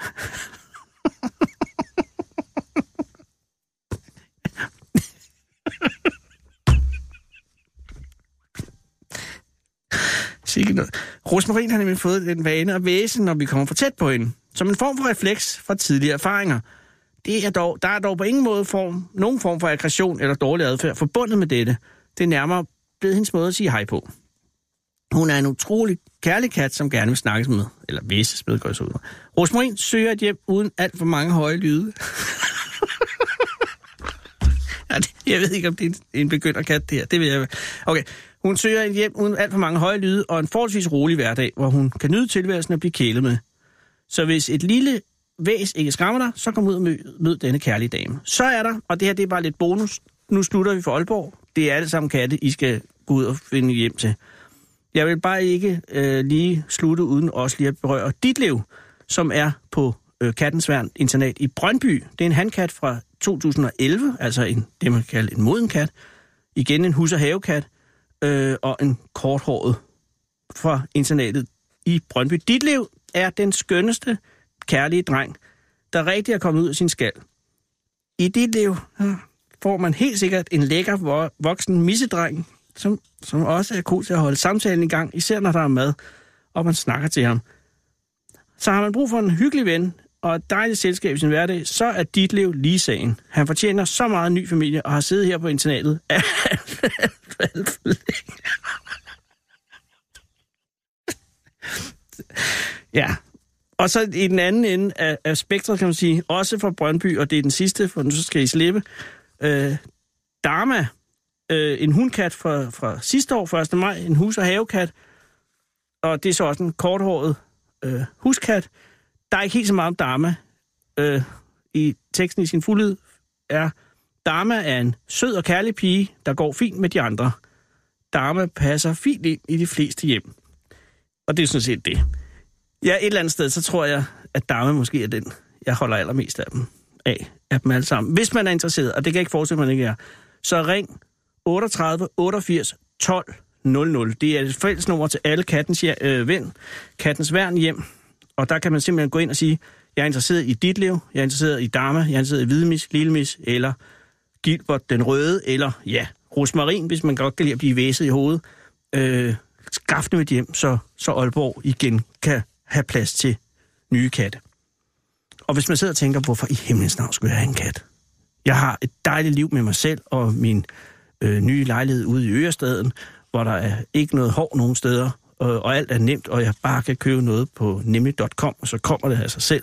Speaker 5: Sikke noget. Rosmarin har nemlig fået den vane at væse, når vi kommer for tæt på hende. Som en form for refleks fra tidligere erfaringer. Det er dog, der er dog på ingen måde form, nogen form for aggression eller dårlig adfærd forbundet med dette. Det er nærmere blevet hendes måde at sige hej på. Hun er en utrolig kærlig kat, som gerne vil snakkes med. Eller væses med, går jeg så ud. fra. Rosmarin søger et hjem uden alt for mange høje lyde. Ja, det- Jeg ved ikke, om det er en- en begynderkat, det her. Det vil jeg. Okay. Hun søger et hjem uden alt for mange høje lyde og en forholdsvis rolig hverdag, hvor hun kan nyde tilværelsen og blive kælet med. Så hvis et lille væs ikke skræmmer dig, så kom ud og mød, mød denne kærlige dame. Så er der, og det her det er bare lidt bonus, nu slutter vi for Aalborg. Det er alle sammen katte, I skal gå ud og finde hjem til. Jeg vil bare ikke øh, lige slutte uden også lige at berøre dit liv, som er på øh, Kattensværn internat i Brøndby. Det er en handkat fra 2011, altså en, det man kalder en moden kat. Igen en hus- og havekat øh, og en korthåret fra internatet i Brøndby. Dit liv er den skønneste, kærlige dreng, der rigtig er kommet ud af sin skal. I dit liv øh, får man helt sikkert en lækker vo- voksen missedreng, som, som også er god til at holde samtalen i gang, især når der er mad, og man snakker til ham. Så har man brug for en hyggelig ven og et dejligt selskab i sin hverdag, så er dit liv lige sagen. Han fortjener så meget ny familie og har siddet her på internatet. alt, alt, alt for længe. ja, og så i den anden ende af, af spektret, kan man sige, også fra Brøndby, og det er den sidste, for nu så skal I slippe. Øh, Dharma, øh, en hundkat fra, fra sidste år, 1. maj, en hus- og havekat, og det er så også en korthåret øh, huskat. Der er ikke helt så meget om Dharma øh, i teksten i sin fuldhed. Er, Dharma er en sød og kærlig pige, der går fint med de andre. Dharma passer fint ind i de fleste hjem. Og det er sådan set det. Ja, et eller andet sted, så tror jeg, at Dame måske er den, jeg holder allermest af dem. Af, af dem alle sammen. Hvis man er interesseret, og det kan jeg ikke forestille, man ikke er, så ring 38 88 12 00. Det er et fællesnummer til alle kattens, hjem- øh, ven, kattens værn hjem. Og der kan man simpelthen gå ind og sige, jeg er interesseret i dit liv, jeg er interesseret i Dama, jeg er interesseret i Hvidmis, Lillemis, eller Gilbert den Røde, eller ja, Rosmarin, hvis man godt kan lide at blive væset i hovedet. Øh, skaf dem et hjem, så, så Aalborg igen kan have plads til nye katte. Og hvis man sidder og tænker, hvorfor i himlens navn skulle jeg have en kat? Jeg har et dejligt liv med mig selv og min øh, nye lejlighed ude i Ørestaden, hvor der er ikke noget hår nogen steder, og, og alt er nemt, og jeg bare kan købe noget på nemlig.com, og så kommer det af sig selv.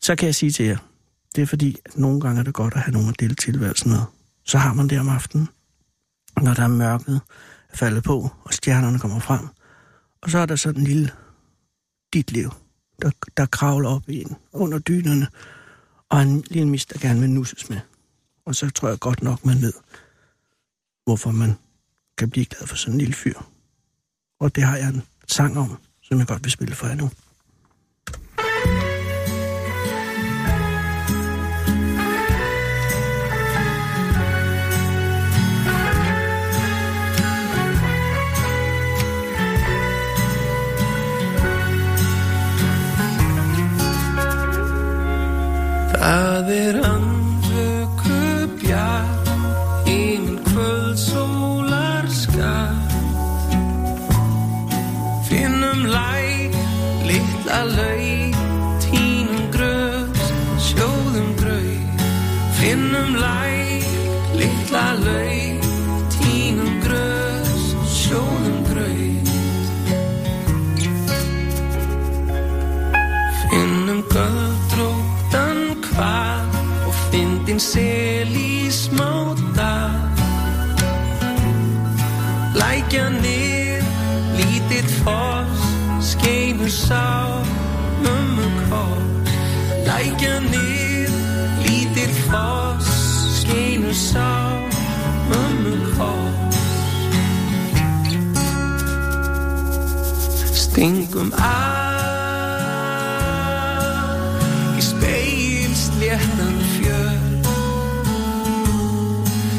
Speaker 5: Så kan jeg sige til jer, det er fordi, at nogle gange er det godt at have nogen at dele tilværelsen med. Så har man det om aftenen, når der er mørket er faldet på, og stjernerne kommer frem. Og så er der sådan en lille dit liv, der, der kravler op i en under dynerne, og en lille mis, der gerne vil nusses med. Og så tror jeg godt nok, man ved, hvorfor man kan blive glad for sådan en lille fyr. Og det har jeg en sang om, som jeg godt vil spille for jer nu.
Speaker 7: Það er andvöku bjart Yfir kvöld sólar skatt Finnum læk, litla laug Tínum grös, sjóðum graut Finnum læk, litla laug Tínum grös, sjóðum graut Finnum göldróttan hval og fyndin sel í smáta. Lækjanir, lítill foss, skeimur sá, mömmu kors. Lækjanir, lítill foss, skeimur sá, mömmu kors. Stingum að í speilsléttan fjör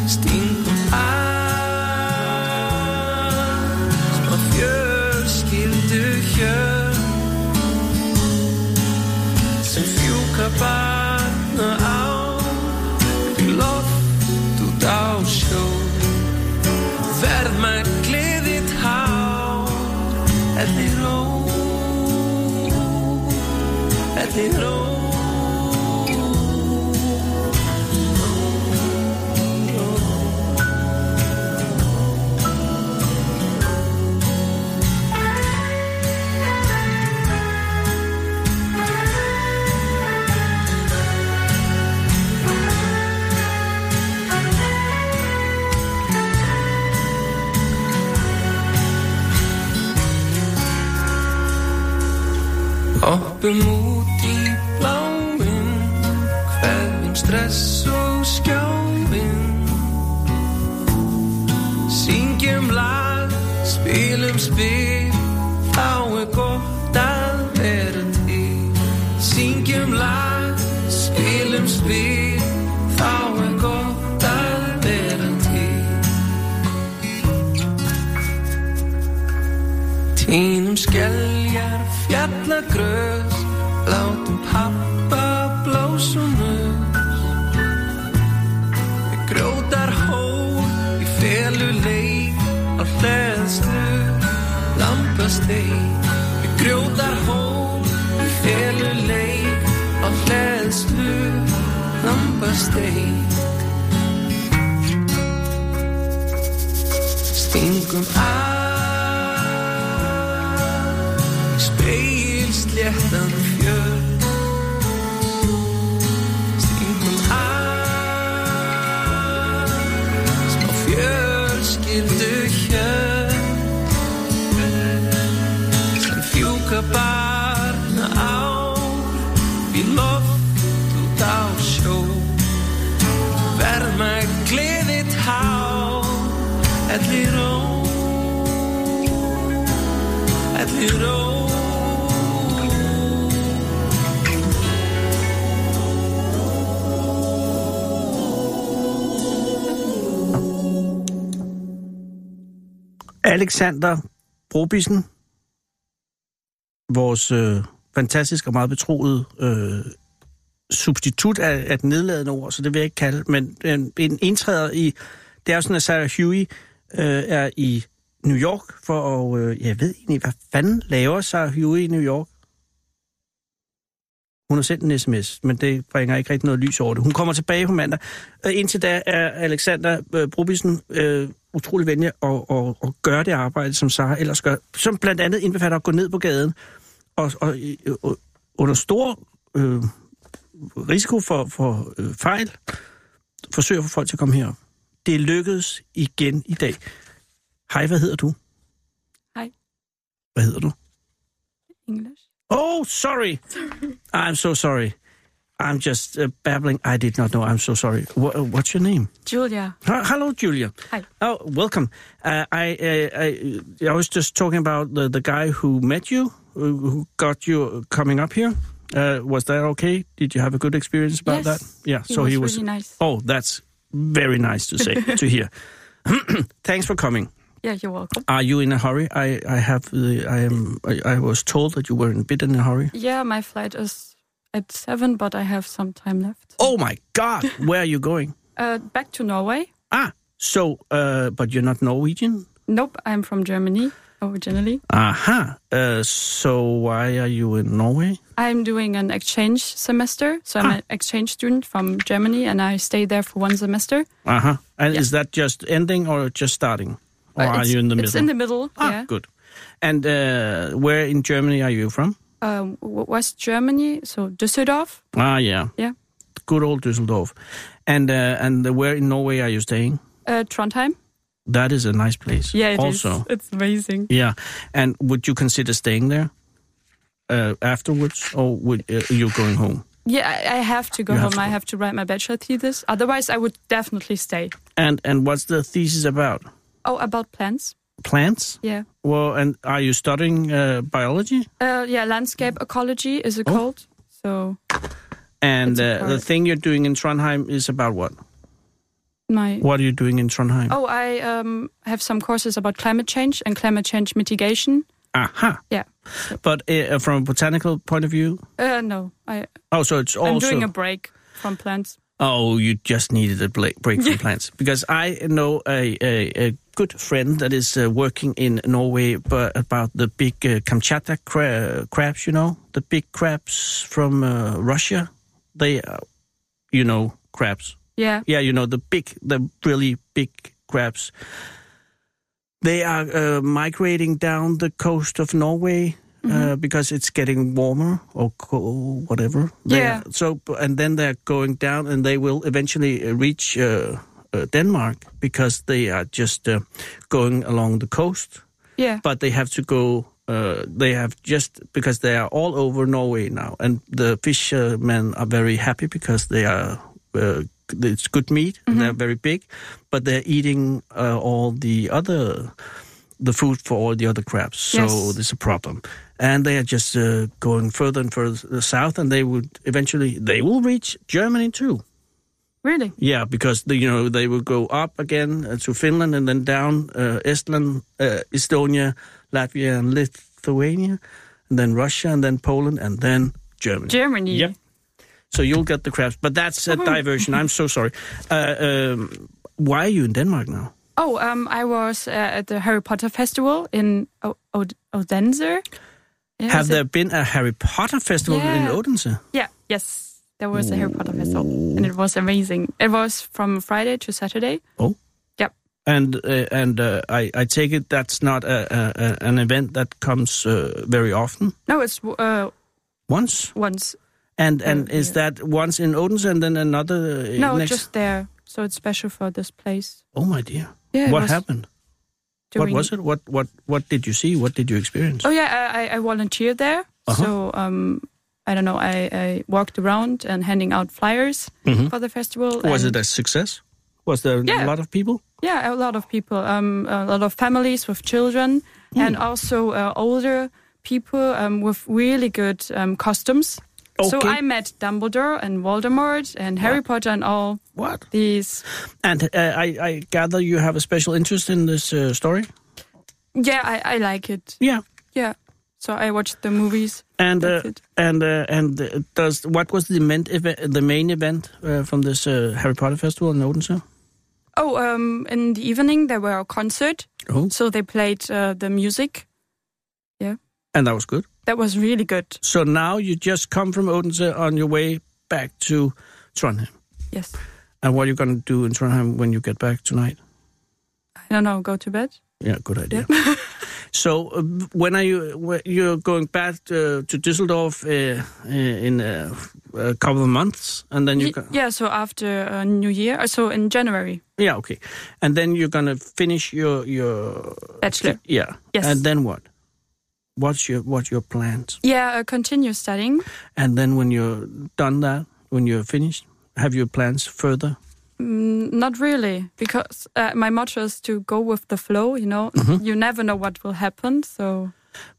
Speaker 7: Stingum að smá fjölskyldu hjör sem fjúka batna á upp í loft út á sjó verðmætt gleðið hár Hlöpum út í bláinn Kveðjum stress og skjáinn Syngjum lag, spilum spil Þá er gott að vera til Syngjum lag, spilum spil Þá er gott að vera til Tínum skelljar fjallagrös Látum pappa blásum upp Við grótar hól í felu leik Á hleðslu lambasteik Við grótar hól í felu leik Á hleðslu lambasteik Stingum að Speilsléttan fjör Stingum að Smá fjörskildu hjör Sem fjúka barna á Í loft út á sjó Verma gleðið hár Allir ró Allir ró
Speaker 5: Alexander Brobissen, vores øh, fantastiske og meget betroede øh, substitut af, af et nedladende ord, så det vil jeg ikke kalde, men øh, en indtræder i, det er jo sådan, at Sarah Huey øh, er i New York for at, øh, jeg ved egentlig, hvad fanden laver Sarah Huey i New York? Hun har sendt en sms, men det bringer ikke rigtig noget lys over det. Hun kommer tilbage på mandag. Og indtil da er Alexander øh, Brubissen øh, utrolig venlig og, og, og gøre det arbejde, som Sara ellers gør. Som blandt andet indbefatter at gå ned på gaden og, og, øh, og under stor øh, risiko for, for øh, fejl forsøger at få folk til at komme herop. Det lykkedes igen i dag. Hej, hvad hedder du?
Speaker 8: Hej.
Speaker 5: Hvad hedder du?
Speaker 8: English.
Speaker 5: Oh, sorry. I'm so sorry. I'm just uh, babbling. I did not know. I'm so sorry. Wha- uh, what's your name?
Speaker 8: Julia.
Speaker 5: Hi- Hello, Julia.
Speaker 8: Hi.
Speaker 5: Oh, welcome. Uh, I, I I I was just talking about the, the guy who met you, who who got you coming up here. Uh, was that okay? Did you have a good experience about
Speaker 8: Yes.
Speaker 5: that? Yeah.
Speaker 8: He
Speaker 5: so
Speaker 8: was
Speaker 5: he was.
Speaker 8: really nice.
Speaker 5: Oh, that's very nice to say to hear. Thanks for coming.
Speaker 8: Yeah, you're welcome.
Speaker 5: Are you in a hurry? I I have the I am I, I was told that you were a bit in a hurry.
Speaker 8: Yeah, my flight is at seven, but I have some time left.
Speaker 5: Oh my God! Where are you going?
Speaker 8: Uh, back to Norway.
Speaker 5: Ah, so uh, but you're not Norwegian.
Speaker 8: Nope, I'm from Germany originally.
Speaker 5: Aha. Uh, so why are you in Norway?
Speaker 8: I'm doing an exchange semester, so I'm
Speaker 5: Ah.
Speaker 8: an exchange student from Germany, and I stay there for one semester.
Speaker 5: Uh huh. And is that just ending or just starting? Or
Speaker 8: Uh,
Speaker 5: are
Speaker 8: it's-
Speaker 5: you in the middle?
Speaker 8: It's in the middle.
Speaker 5: ah,
Speaker 8: yeah,
Speaker 5: good. And uh, where in Germany are you from?
Speaker 8: um, w- West Germany, so Düsseldorf.
Speaker 5: Ah, yeah,
Speaker 8: Yeah,
Speaker 5: good old Düsseldorf. And uh, and where in Norway are you staying?
Speaker 8: uh, Trondheim.
Speaker 5: That is a nice place.
Speaker 8: Yeah, it is.
Speaker 5: also.
Speaker 8: It's amazing.
Speaker 5: Yeah, and would you consider staying there uh, afterwards, or would uh, you going home?
Speaker 8: Yeah, I, I have to go
Speaker 5: You have
Speaker 8: home.
Speaker 5: to
Speaker 8: I
Speaker 5: go.
Speaker 8: have to write my bachelor thesis. Otherwise, I would definitely stay.
Speaker 5: And and what's the thesis about?
Speaker 8: Oh, about plants.
Speaker 5: Plants.
Speaker 8: Yeah.
Speaker 5: Well, and are you studying uh, biology?
Speaker 8: Uh, yeah, landscape
Speaker 5: Hmm.
Speaker 8: ecology is
Speaker 5: Oh.
Speaker 8: a cult. So
Speaker 5: And
Speaker 8: It's a
Speaker 5: uh, the
Speaker 8: part.
Speaker 5: thing you're doing in Trondheim is about what?
Speaker 8: my
Speaker 5: What are you doing in Trondheim?
Speaker 8: oh, I um, have some courses about climate change and climate change mitigation.
Speaker 5: Aha.
Speaker 8: Yeah.
Speaker 5: But uh, from a botanical point of view,
Speaker 8: Uh, no, I
Speaker 5: oh, so it's
Speaker 8: I'm
Speaker 5: also
Speaker 8: doing a break from plants.
Speaker 5: oh, you just needed a bla- break from plants because I know a, a, a good friend that is uh, working in Norway, but about the big uh, Kamchatka cra- crabs, you know, the big crabs from uh, Russia. They, uh, you know, crabs.
Speaker 8: Yeah.
Speaker 5: yeah, you know, the big, the really big crabs. They are uh, migrating down the coast of Norway uh, because it's getting warmer or co- whatever. They
Speaker 8: Yeah.
Speaker 5: are- so, and then they're going down, and they will eventually uh, reach uh, uh, Denmark because they are just uh, going along the coast,
Speaker 8: Yeah.
Speaker 5: but they have to go Uh, they have just because they are all over Norway now, and the fishermen are very happy because they are uh, it's good meat. and They're very big, but they're eating uh, all the other the food for all the other crabs. So
Speaker 8: Yes.
Speaker 5: there's a problem, and they are just uh, going further and further south, and they would eventually they will reach Germany too.
Speaker 8: Really?
Speaker 5: Yeah, because the, you know they would go up again uh, to Finland and then down uh, Estland, uh, Estonia, Latvia, and Lithuania, and then Russia, and then Poland, and then Germany.
Speaker 8: Germany. Oh.
Speaker 5: Yep. So you'll get the crabs, but that's a diversion. I'm so sorry. Uh, um, why are you in Denmark now?
Speaker 8: Oh, um, I was uh, at the Harry Potter Festival in o- Od- Odense. Yeah,
Speaker 5: Have
Speaker 8: is it-
Speaker 5: there been a Harry Potter festival in
Speaker 8: Yeah.
Speaker 5: Odense?
Speaker 8: Yeah, yes. There was a Harry Potter Festival, and it was amazing. It was from Friday to Saturday.
Speaker 5: Oh,
Speaker 8: Yep.
Speaker 5: and uh, and uh, I I take it that's not a, a, a, an event that comes uh, very often.
Speaker 8: No, it's uh,
Speaker 5: Once
Speaker 8: once.
Speaker 5: And and is that once in Odense and then another uh,
Speaker 8: No,
Speaker 5: next?
Speaker 8: just there. So it's special for this place.
Speaker 5: oh my dear!
Speaker 8: Yeah, it
Speaker 5: what
Speaker 8: was
Speaker 5: happened? What
Speaker 8: during-
Speaker 5: was it? What what what did you see? What did you experience?
Speaker 8: Oh yeah, I, I- I volunteered there.
Speaker 5: Uh-huh.
Speaker 8: So um, I don't know. I, I walked around and handing out flyers for the festival.
Speaker 5: Mm-hmm. was
Speaker 8: Oh,
Speaker 5: it
Speaker 8: and-
Speaker 5: a success? Was there
Speaker 8: Yeah.
Speaker 5: a lot of people?
Speaker 8: Yeah, a lot of people, um, a lot of families with children,
Speaker 5: Hmm.
Speaker 8: and also uh, older people um, with really good um, customs. So
Speaker 5: Okay.
Speaker 8: I met Dumbledore and Voldemort and Harry Potter and all
Speaker 5: What?
Speaker 8: these.
Speaker 5: And uh, I I gather you have a special interest in this uh, story.
Speaker 8: Yeah, I, I like it.
Speaker 5: Yeah.
Speaker 8: Yeah. So I watched the movies.
Speaker 5: And uh,
Speaker 8: That's it.
Speaker 5: and uh, and uh, does what was the main event, the main event uh, from this uh, Harry Potter festival in Odense?
Speaker 8: Oh, um, in the evening there were a concert,
Speaker 5: Oh,
Speaker 8: so they played uh, the music. Yeah,
Speaker 5: and that was good.
Speaker 8: that was really good.
Speaker 5: So now you just come from Odense on your way back to Trondheim.
Speaker 8: Yes.
Speaker 5: And what are you going to do in Trondheim when you get back tonight?
Speaker 8: I don't know. Go to bed.
Speaker 5: Yeah, good idea. so, uh, when are you wh- you're going back uh, to Düsseldorf uh, uh, in a, a couple of months, and then you
Speaker 8: Y-
Speaker 5: go-
Speaker 8: yeah. So after uh, New Year, uh, so in January,
Speaker 5: yeah okay, and then you're gonna finish your your
Speaker 8: bachelor.
Speaker 5: yeah
Speaker 8: Yes.
Speaker 5: and then what? What's your what's your plans?
Speaker 8: Yeah, uh, continue studying.
Speaker 5: And then when you're done that, when you're finished, have your plans further?
Speaker 8: Mm, Not really, because uh, my motto is to go with the flow. You know, you never know what will happen. So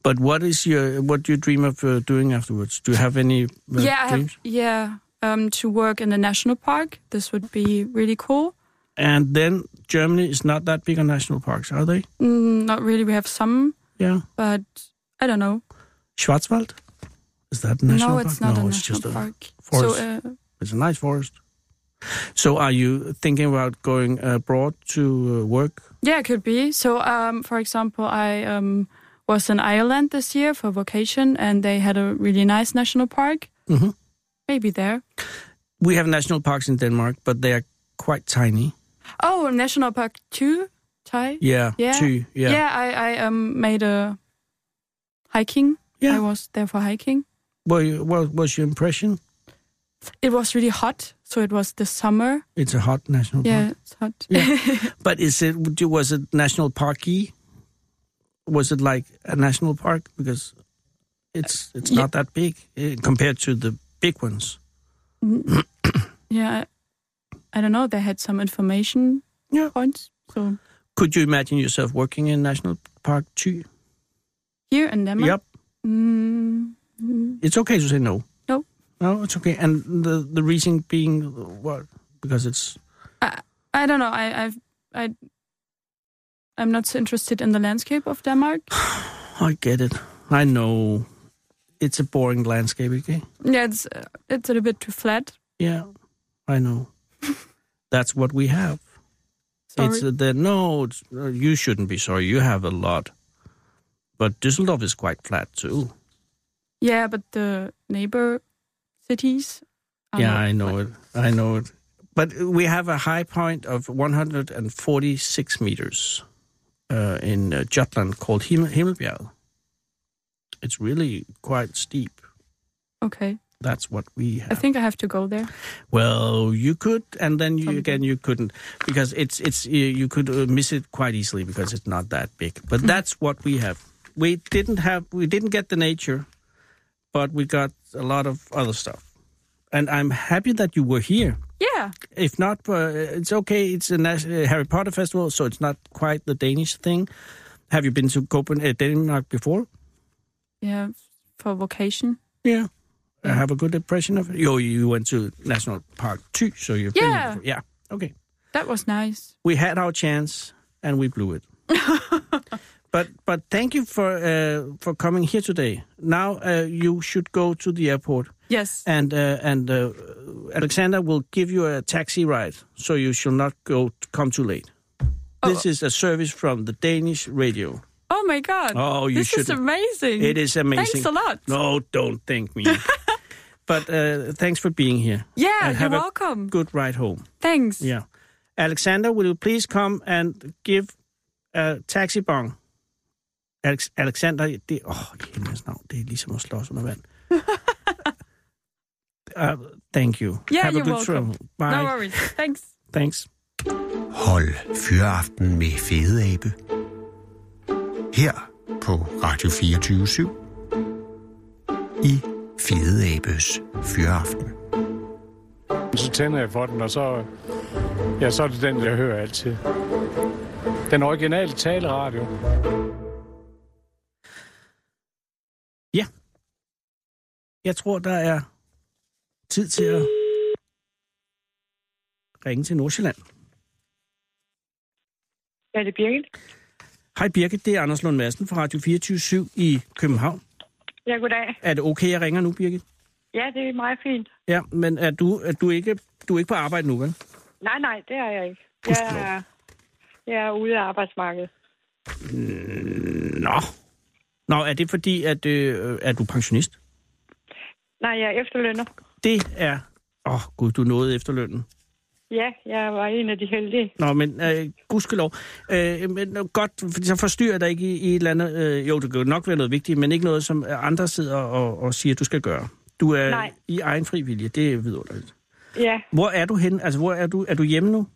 Speaker 5: But what is your what do you dream of uh, doing afterwards? Do you have any uh,
Speaker 8: yeah, I
Speaker 5: dreams?
Speaker 8: have, yeah, um, to work in a national park. This would be really cool.
Speaker 5: And then Germany is not that big on national parks, are they?
Speaker 8: Mm, not really. We have some,
Speaker 5: Yeah.
Speaker 8: but I don't know.
Speaker 5: Schwarzwald? Is that a national
Speaker 8: no,
Speaker 5: park?
Speaker 8: it's not
Speaker 5: no,
Speaker 8: a
Speaker 5: it's
Speaker 8: national
Speaker 5: just a
Speaker 8: park.
Speaker 5: forest.
Speaker 8: So uh,
Speaker 5: it's a nice forest. So are you thinking about going abroad to uh, work?
Speaker 8: yeah, it could be. So um, for example, I um, was in Ireland this year for vacation, and they had a really nice national park.
Speaker 5: Mhm.
Speaker 8: Maybe there.
Speaker 5: We have national parks in Denmark, but they are quite tiny.
Speaker 8: Oh, National Park 2, Thai?
Speaker 5: Yeah.
Speaker 8: Yeah.
Speaker 5: Two, yeah.
Speaker 8: I, I um, made a hiking.
Speaker 5: Yeah.
Speaker 8: I was there for hiking.
Speaker 5: Were you, what was your impression?
Speaker 8: It was really hot, so it was this summer.
Speaker 5: It's a hot national
Speaker 8: Yeah,
Speaker 5: park.
Speaker 8: it's hot.
Speaker 5: But is it do- was it national parky? Was it like a national park because it's it's
Speaker 8: yeah.
Speaker 5: not that big eh, compared to the big ones?
Speaker 8: yeah. I, I don't know. They had some information
Speaker 5: Yeah.
Speaker 8: points. So
Speaker 5: Could you imagine yourself working in National Park 2?
Speaker 8: here in Denmark.
Speaker 5: Yep.
Speaker 8: Mm,
Speaker 5: It's okay to say no.
Speaker 8: No.
Speaker 5: No, it's okay. And the, the reason being what? Because it's.
Speaker 8: I don't know. I, I've, I, I'm not so interested in the landscape of Denmark.
Speaker 5: I get it. I know. It's a boring landscape, okay?
Speaker 8: Yeah, it's, uh, it's a little bit too flat.
Speaker 5: Yeah, I know. That's what we have.
Speaker 8: Sorry.
Speaker 5: It's uh, the no. It's, uh, you shouldn't be sorry. You have a lot, but Düsseldorf is quite flat too.
Speaker 8: Yeah, but the neighbor cities. Are
Speaker 5: yeah,
Speaker 8: not
Speaker 5: I know
Speaker 8: like-
Speaker 5: it. I know it. But we have a high point of 146 meters uh, in uh, Jutland called Himmel- Himmelbjerg. It's really quite steep.
Speaker 8: Okay,
Speaker 5: That's what we
Speaker 8: I
Speaker 5: have.
Speaker 8: think I have to go there.
Speaker 5: Well, you could, and then you,
Speaker 8: Something.
Speaker 5: again you couldn't
Speaker 8: Hmm.
Speaker 5: because it's it's you you could uh, miss it quite easily because it's not that big. But that's what we have. we didn't have we didn't get the nature, but we got a lot of other stuff. And I'm happy that you were here.
Speaker 8: Yeah.
Speaker 5: If not, uh, it's okay. It's a nas- uh, Harry Potter festival, so it's not quite the Danish thing. Have you been to Copenhagen, uh, Denmark before?
Speaker 8: Yeah. For vacation.
Speaker 5: Yeah. I Uh, have a good impression of it. You, you went to National Park too, so you've been
Speaker 8: Yeah.
Speaker 5: there before. Yeah. Okay.
Speaker 8: That was nice.
Speaker 5: we had our chance and we blew it. but but thank you for uh, for coming here today. Now uh, you should go to the airport
Speaker 8: Yes.
Speaker 5: and uh, and uh, Alexander will give you a taxi ride so you shall not go come too late. This is a service from the Danish radio.
Speaker 8: Oh my god.
Speaker 5: Oh, you
Speaker 8: This is
Speaker 5: shouldn't.
Speaker 8: amazing.
Speaker 5: It is amazing.
Speaker 8: Thanks a lot.
Speaker 5: No, don't thank me. but uh, thanks for being here.
Speaker 8: Yeah,
Speaker 5: And
Speaker 8: you're
Speaker 5: have a
Speaker 8: welcome.
Speaker 5: Good ride home.
Speaker 8: Thanks.
Speaker 5: Yeah. Alexander, will you please come and give a taxi bong? Alex, Alexander, det... Åh, oh, himlens navn, det er ligesom at slås under vand. uh, thank you.
Speaker 8: Yeah,
Speaker 5: Have a
Speaker 8: you're
Speaker 5: good
Speaker 8: welcome.
Speaker 5: travel. Bye.
Speaker 8: No worries. Thanks.
Speaker 5: Thanks.
Speaker 3: Hold Fyraften med Fede Abe. Her på Radio 24 I Fede Abes Fyraften.
Speaker 6: Så tænder jeg for den, og så, ja, så er det den, jeg hører altid. Den originale taleradio.
Speaker 5: Ja. Jeg tror, der er tid til at ringe til Nordsjælland.
Speaker 4: Er det Birgit?
Speaker 5: Hej Birke, det er Anders Lund Madsen fra Radio 24 i København.
Speaker 4: Ja, goddag.
Speaker 5: Er det okay, jeg ringer nu, Birke?
Speaker 4: Ja, det er meget fint.
Speaker 5: Ja, men er du, er du, ikke, du er ikke på arbejde nu, vel?
Speaker 4: Nej, nej, det er jeg ikke.
Speaker 5: Gudskelov.
Speaker 4: Jeg er, jeg er ude af arbejdsmarkedet.
Speaker 5: Nå. Nå, er det fordi, at øh, er du pensionist?
Speaker 4: Nej, jeg er efterlønner.
Speaker 5: Det er... Åh, oh, gud, du nåede efterlønnen.
Speaker 4: Ja, jeg var en af de heldige.
Speaker 5: Nå, men øh, gudskelov. Øh, men øh, godt, for så forstyrrer der ikke i, i et eller andet... Øh, jo, det kan jo nok være noget vigtigt, men ikke noget, som andre sidder og, og siger, du skal gøre. Du er
Speaker 4: Nej.
Speaker 5: i egen fri vilje, det er vidunderligt.
Speaker 4: Ja,
Speaker 5: Hvor er du henne? Altså, hvor er du? Er du hjemme nu?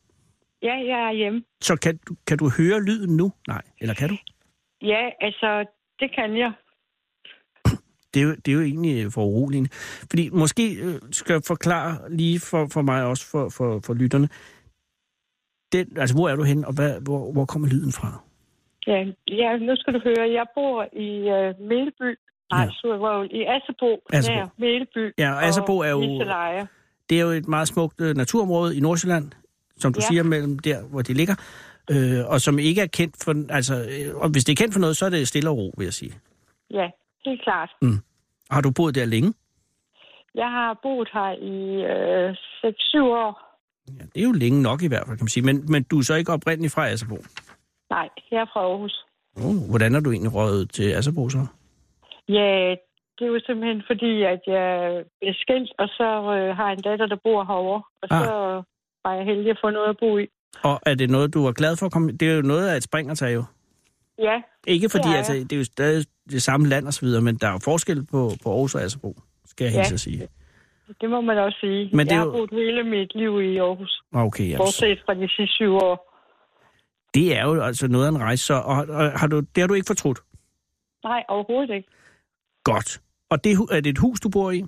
Speaker 4: ja jeg er hjemme.
Speaker 5: Så kan, du- kan du høre lyden nu? Nej, eller kan du?
Speaker 4: Ja, altså, det kan jeg.
Speaker 5: det er, jo, det er jo egentlig for uroligende. Fordi måske øh, skal jeg forklare lige for, for mig også for, for, for lytterne. Den, altså, hvor er du henne, og hvad, hvor, hvor kommer lyden fra?
Speaker 4: Ja, ja, nu skal du høre. Jeg bor i uh, Melby. Nej,
Speaker 5: Ja.
Speaker 4: ja. Survold, i Assebo.
Speaker 5: Assebo.
Speaker 4: Nær Melby.
Speaker 5: Ja, og Assebo er jo-
Speaker 4: Niseleje.
Speaker 5: Det er jo et meget smukt øh, naturområde i Nordsjælland, som du ja.
Speaker 4: Ja.
Speaker 5: siger, mellem der, hvor det ligger. Øh, og som ikke er kendt for... Altså, øh, og hvis det er kendt for noget, så er det stille og ro, vil jeg sige.
Speaker 4: Ja, helt klart.
Speaker 5: Har du boet der længe?
Speaker 4: Jeg har boet her i øh, 6-7 år.
Speaker 5: Ja, det er jo længe nok i hvert fald, kan man sige. Men, men du er så ikke oprindelig fra Asserbo.
Speaker 4: Nej, jeg er fra Aarhus.
Speaker 5: Oh, hvordan er du egentlig røget til Asserbo så?
Speaker 4: Ja, det er jo simpelthen fordi, at jeg blev skilt, og så øh, har jeg en datter, der bor herovre. Og
Speaker 5: Ah.
Speaker 4: ah. så var jeg heldig at få noget at bo i.
Speaker 5: Og er det noget, du var glad for at komme... Det er jo noget af et spring at tage jo.
Speaker 4: Ja,
Speaker 5: Ikke fordi,
Speaker 4: Det
Speaker 5: det
Speaker 4: er
Speaker 5: altså,
Speaker 4: jeg.
Speaker 5: det er jo stadig det samme land og så videre, men der er jo forskel på, på Aarhus og Asserbo, skal jeg
Speaker 4: Ja.
Speaker 5: hilse at sige.
Speaker 4: det må man også sige.
Speaker 5: Men
Speaker 4: Men
Speaker 5: det
Speaker 4: det
Speaker 5: er
Speaker 4: jeg har
Speaker 5: jo-
Speaker 4: boet hele mit liv i Aarhus,
Speaker 5: Okay, ja. så-
Speaker 4: bortset fra de sidste syv år.
Speaker 5: Det er jo altså noget af en rejse, så, og, og har du, det har du ikke fortrudt.
Speaker 4: Nej, overhovedet ikke.
Speaker 5: Godt. Og det, hu- er det et hus, du bor i?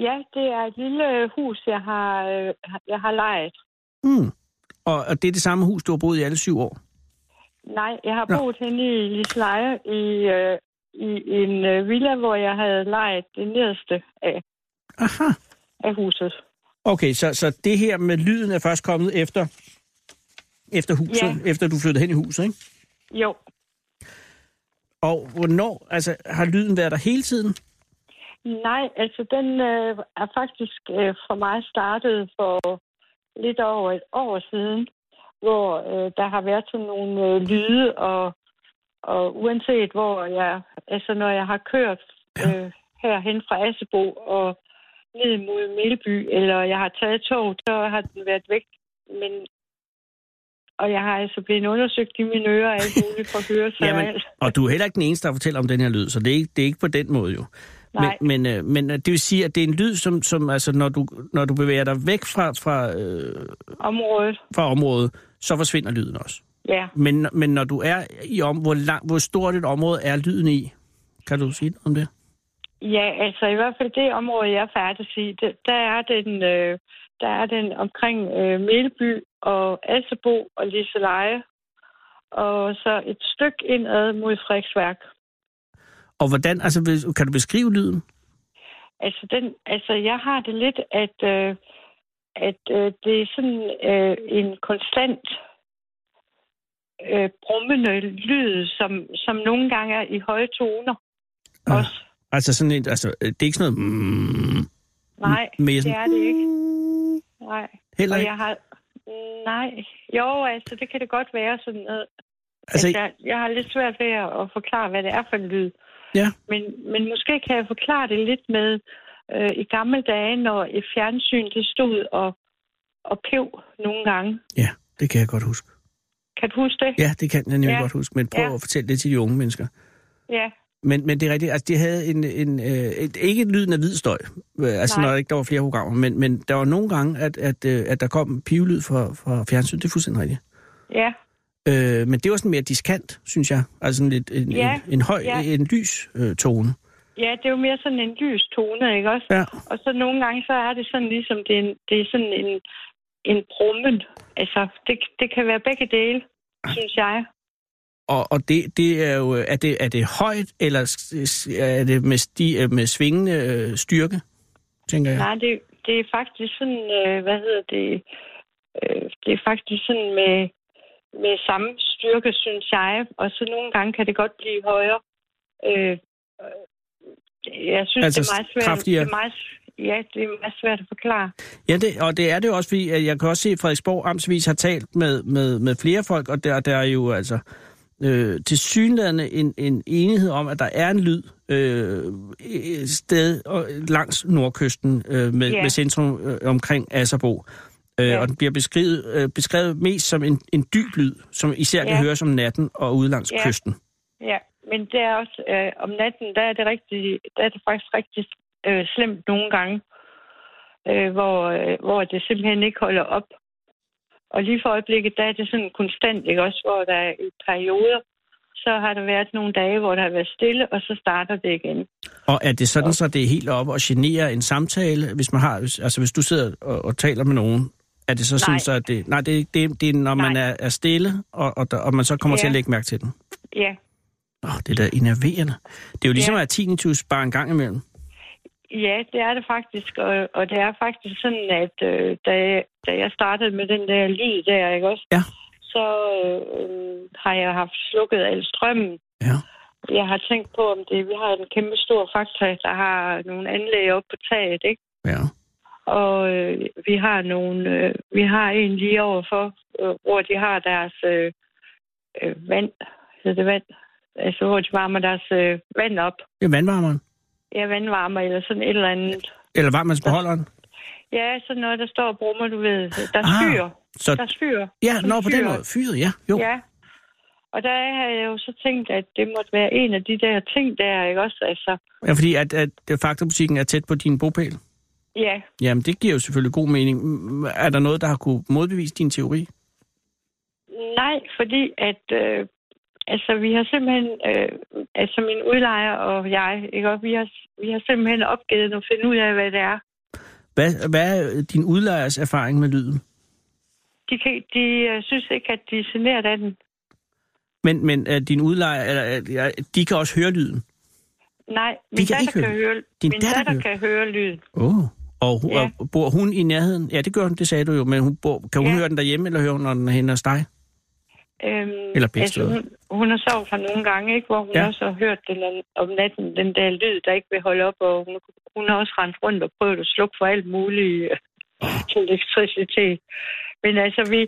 Speaker 4: Ja, det er et lille øh, hus, jeg har, øh, jeg har lejet.
Speaker 5: Mm. Og, og det er det samme hus, du har boet i alle syv år?
Speaker 4: Nej, jeg har
Speaker 5: Nå.
Speaker 4: boet henne i Lisleje i, øh, i en øh, villa, hvor jeg havde lejet det nederste af,
Speaker 5: Aha.
Speaker 4: af huset.
Speaker 5: Okay, så, så det her med lyden er først kommet efter, efter huset,
Speaker 4: Ja.
Speaker 5: efter du flyttede hen i huset, ikke?
Speaker 4: Jo,
Speaker 5: Og hvornår, altså har lyden været der hele tiden?
Speaker 4: nej, altså den øh, er faktisk øh, for mig startet for lidt over et år siden, hvor øh, der har været sådan nogle øh, lyde, og, og uanset hvor jeg, altså når jeg har kørt øh, herhen fra Assebo og ned mod Melby, eller jeg har taget tog, så har den været væk, men og jeg har altså blevet undersøgt i mine ører af alt muligt for hørelse og
Speaker 5: Jamen,
Speaker 4: alt.
Speaker 5: og du er heller ikke den eneste, der fortæller om den her lyd, så det er ikke, det er ikke på den måde jo.
Speaker 4: Nej.
Speaker 5: Men, men, øh, men øh, det vil sige, at det er en lyd, som, som altså, når, du, når du bevæger dig væk fra, fra, øh,
Speaker 4: Området.
Speaker 5: fra området, så forsvinder lyden også.
Speaker 4: Ja,
Speaker 5: Men, men når du er i om, hvor, lang, hvor stort et område er lyden i? Kan du sige noget om det?
Speaker 4: ja altså i hvert fald det område, jeg færdes i, det, der, er den, øh, der er den omkring øh, Meleby og Assebo og Liseleje. Og så et stykke indad mod Frederiksværk.
Speaker 5: Og hvordan, altså, hvis- kan du beskrive lyden?
Speaker 4: Altså, den, altså jeg har det lidt, at, øh, at øh, det er sådan øh, en konstant øh, brummende lyd, som, som nogle gange er i høje toner.
Speaker 5: Ah.
Speaker 4: Også.
Speaker 5: Altså sådan et, altså, øh, det er ikke sådan noget, mm,
Speaker 4: Nej,
Speaker 5: mere
Speaker 4: det
Speaker 5: sådan-
Speaker 4: er det ikke. Nej.
Speaker 5: heller
Speaker 4: Og
Speaker 5: ikke.
Speaker 4: jeg har... Nej. Jo, altså, det kan det godt være sådan noget.
Speaker 5: Altså,
Speaker 4: Altså, jeg, jeg har lidt svært ved at at forklare, hvad det er for en lyd.
Speaker 5: Ja.
Speaker 4: Men, men måske kan jeg forklare det lidt med øh, i gamle dage, når et fjernsyn det stod og, og pev nogle gange.
Speaker 5: ja, det kan jeg godt huske.
Speaker 4: Kan du huske det?
Speaker 5: Ja, det kan jeg nemlig
Speaker 4: Ja.
Speaker 5: godt huske, men prøv
Speaker 4: Ja.
Speaker 5: at fortælle det til de unge mennesker.
Speaker 4: ja.
Speaker 5: Men, men det er rigtigt, altså det havde en, en øh, et, ikke lyden af hvid støj, øh, altså
Speaker 4: Nej.
Speaker 5: når der ikke der var flere programmer, men, men der var nogle gange, at, at, øh, at der kom pivelyd fra, fra fjernsyn, det er fuldstændig rigtigt.
Speaker 4: ja.
Speaker 5: Øh, men det var sådan mere diskant, synes jeg, altså sådan lidt en,
Speaker 4: Ja,
Speaker 5: en, en høj,
Speaker 4: ja.
Speaker 5: en lys øh, tone.
Speaker 4: Ja, det er jo mere sådan en lys tone, ikke også?
Speaker 5: Ja.
Speaker 4: Og så nogle gange, så er det sådan ligesom, det er, en, det er sådan en, en brummen. Altså, det, det kan være begge dele, synes jeg.
Speaker 5: Og, og det, det er jo, er det, er det højt, eller s- s- er det med, sti, øh, med svingende øh, styrke, tænker jeg?
Speaker 4: Nej, det, det er faktisk sådan, øh, hvad hedder det, øh, det er faktisk sådan med, med samme styrke, synes jeg, og så nogle gange kan det godt blive højere. Øh, øh, jeg synes,
Speaker 5: Altså
Speaker 4: altså, det er meget svært.
Speaker 5: kraftigere?
Speaker 4: Det er meget, ja, det er meget svært at forklare.
Speaker 5: Ja, det, og det er det jo også, fordi at jeg kan også se, at Frederiksborg Amtsvis har talt med, med, med flere folk, og der, der er jo altså øh, til synlædende en, en enighed om, at der er en lyd øh, et sted og- langs nordkysten øh, med,
Speaker 4: Ja.
Speaker 5: med centrum øh, omkring Asserbo. Øh,
Speaker 4: Ja.
Speaker 5: Og den bliver beskrevet, øh, beskrevet mest som en, en dyb lyd, som især kan
Speaker 4: Ja.
Speaker 5: høres om natten og ude langs
Speaker 4: Ja.
Speaker 5: kysten.
Speaker 4: Ja, men det er også, øh, om natten, der er det, rigtig, der er det faktisk rigtig øh, slemt nogle gange, øh, hvor, øh, hvor det simpelthen ikke holder op. Og lige for øjeblikket, der er det sådan konstant, ikke også, hvor der er i perioder, så har der været nogle dage, hvor der har været stille, og så starter det igen.
Speaker 5: Og er det sådan, så det er helt op og generer en samtale, hvis man har, hvis- altså hvis du sidder og, og taler med nogen, er det så sådan,
Speaker 4: Nej.
Speaker 5: så at det, nej, det, er ikke- det, det er, når man er, er stille, og, og, der, og man så kommer ja. til
Speaker 4: Ja.
Speaker 5: at lægge mærke til den.
Speaker 4: Ja,
Speaker 5: Åh, det er da enerverende. Det er jo ligesom
Speaker 4: Ja.
Speaker 5: at have tinnitus bare en gang imellem.
Speaker 4: ja det er det faktisk, og, og det er faktisk sådan, at øh, da, jeg- da jeg startede med den der lyd der, ikke også,
Speaker 5: Ja.
Speaker 4: så øh, har jeg haft slukket al strømmen,
Speaker 5: Ja.
Speaker 4: Jeg har tænkt på, om det vi har en kæmpe stor faktor, der har nogle anlæg oppe på taget, ikke?
Speaker 5: Ja.
Speaker 4: Og øh, vi har nogle, øh, vi har en lige overfor, øh, hvor de har deres øh, øh, vand, hedder det vand? Altså, hvor de varmer deres øh, vand op.
Speaker 5: Det er vandvarmeren.
Speaker 4: Ja, vandvarmer eller sådan et eller andet.
Speaker 5: Eller varmvandsbeholderen.
Speaker 4: Ja, sådan noget, der står og brummer, du ved. Der
Speaker 5: Ah,
Speaker 4: skyr.
Speaker 5: Så,
Speaker 4: Der skyr.
Speaker 5: ja,
Speaker 4: som
Speaker 5: når på den
Speaker 4: fyret.
Speaker 5: måde. Fyret, ja. Jo.
Speaker 4: Ja. Og der har jeg jo så tænkt, at det måtte være en af de der ting der, ikke også? Altså,
Speaker 5: ja fordi at, at faktabutikken er tæt på din bopæl.
Speaker 4: ja,
Speaker 5: Jamen, det giver jo selvfølgelig god mening. Mm, Er der noget, der har kunne modbevise din teori?
Speaker 4: Nej, fordi at øh, altså, vi har simpelthen, øh, altså min udlejer og jeg, ikke? Og vi, har, vi har simpelthen opgivet at finde ud af, hvad det er.
Speaker 5: Hvad, hvad er din udlejers erfaring med lyden?
Speaker 4: De, kan, de øh, synes ikke, at de er generet af den.
Speaker 5: Men, men uh, din udlejer, eller, øh, ja, de kan også høre lyden.
Speaker 4: Nej, min
Speaker 5: kan
Speaker 4: datter
Speaker 5: ikke
Speaker 4: kan
Speaker 5: høre
Speaker 4: høre,
Speaker 5: Din
Speaker 4: min
Speaker 5: datter
Speaker 4: datter,
Speaker 5: kan
Speaker 4: kan høre lyden.
Speaker 5: Oh. Og, hu-
Speaker 4: Ja.
Speaker 5: og bor hun i nærheden? Ja, det gør hun, det sagde du jo, men hun bor, kan hun ja.
Speaker 4: Ja.
Speaker 5: høre den derhjemme, eller hører hun, når den er henne hos dig?
Speaker 4: Øhm,
Speaker 5: Eller
Speaker 4: altså,
Speaker 5: Bæltstedet.
Speaker 4: hun, hun har sovet for nogle gange, ikke? hvor hun
Speaker 5: Ja.
Speaker 4: ja. også har hørt den om- om natten, den der lyd, der ikke vil holde op, og hun, hun har også rendt rundt og prøvet at slukke for alt muligt øh, elektricitet. Men altså, vi,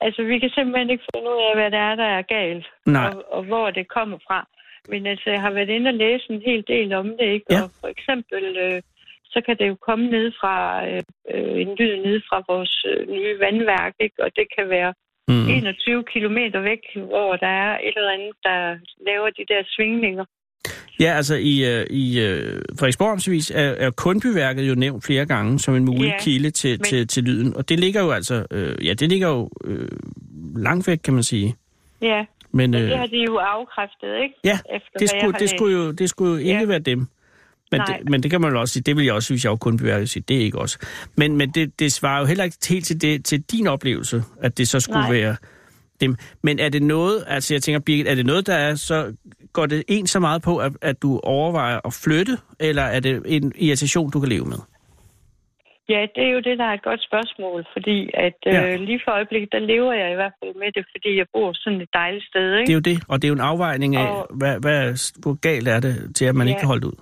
Speaker 4: altså, vi kan simpelthen ikke finde ud af, hvad det er, der er galt,
Speaker 5: Nej.
Speaker 4: og, og hvor det kommer fra. Men altså, jeg har været inde og læse en hel del om det, ikke?
Speaker 5: Ja.
Speaker 4: Og for eksempel, øh, så kan det jo komme ned fra øh, øh, en lyd ned fra vores øh, nye vandværk, ikke? Og det kan være
Speaker 5: Mm.
Speaker 4: 21 kilometer væk, hvor der er et eller andet, der laver de der svingninger.
Speaker 5: Ja, altså i, øh, i øh, Frederiksborg Amtsvis er, er Kundbyværket jo nævnt flere gange som en mulig ja,
Speaker 4: Ja,
Speaker 5: kilde til,
Speaker 4: men-
Speaker 5: til, til lyden, og det ligger jo altså, øh, ja, det ligger jo øh, langt væk, kan man sige.
Speaker 4: Ja,
Speaker 5: Men,
Speaker 4: men
Speaker 5: øh,
Speaker 4: det har de jo afkræftet, ikke?
Speaker 5: ja,
Speaker 4: Efter
Speaker 5: det
Speaker 4: hvad jeg
Speaker 5: skulle,
Speaker 4: har
Speaker 5: det,
Speaker 4: læst.
Speaker 5: skulle jo, det skulle jo ikke
Speaker 4: Ja.
Speaker 5: være dem. Men
Speaker 4: Nej.
Speaker 5: det, men det kan man jo også sige, det vil jeg også synes, jeg jo kun vil sige, det er ikke også. Men, men det, det svarer jo heller ikke helt til, det, til din oplevelse, at det så skulle
Speaker 4: Nej.
Speaker 5: være dem. Men er det noget, altså jeg tænker, Birgit, er det noget, der er, så går det en så meget på, at, at du overvejer at flytte, eller er det en irritation, du kan leve med?
Speaker 4: Ja, det er jo det, der er et godt spørgsmål, fordi at
Speaker 5: Ja.
Speaker 4: øh, lige for øjeblikket, der lever jeg i hvert fald med det, fordi jeg bor sådan et dejligt sted,
Speaker 5: Det er
Speaker 4: ikke?
Speaker 5: jo det, og det er jo en afvejning af,
Speaker 4: Og-
Speaker 5: hvad, hvad, hvor galt er det til, at man
Speaker 4: Ja.
Speaker 5: ikke kan holde det ud.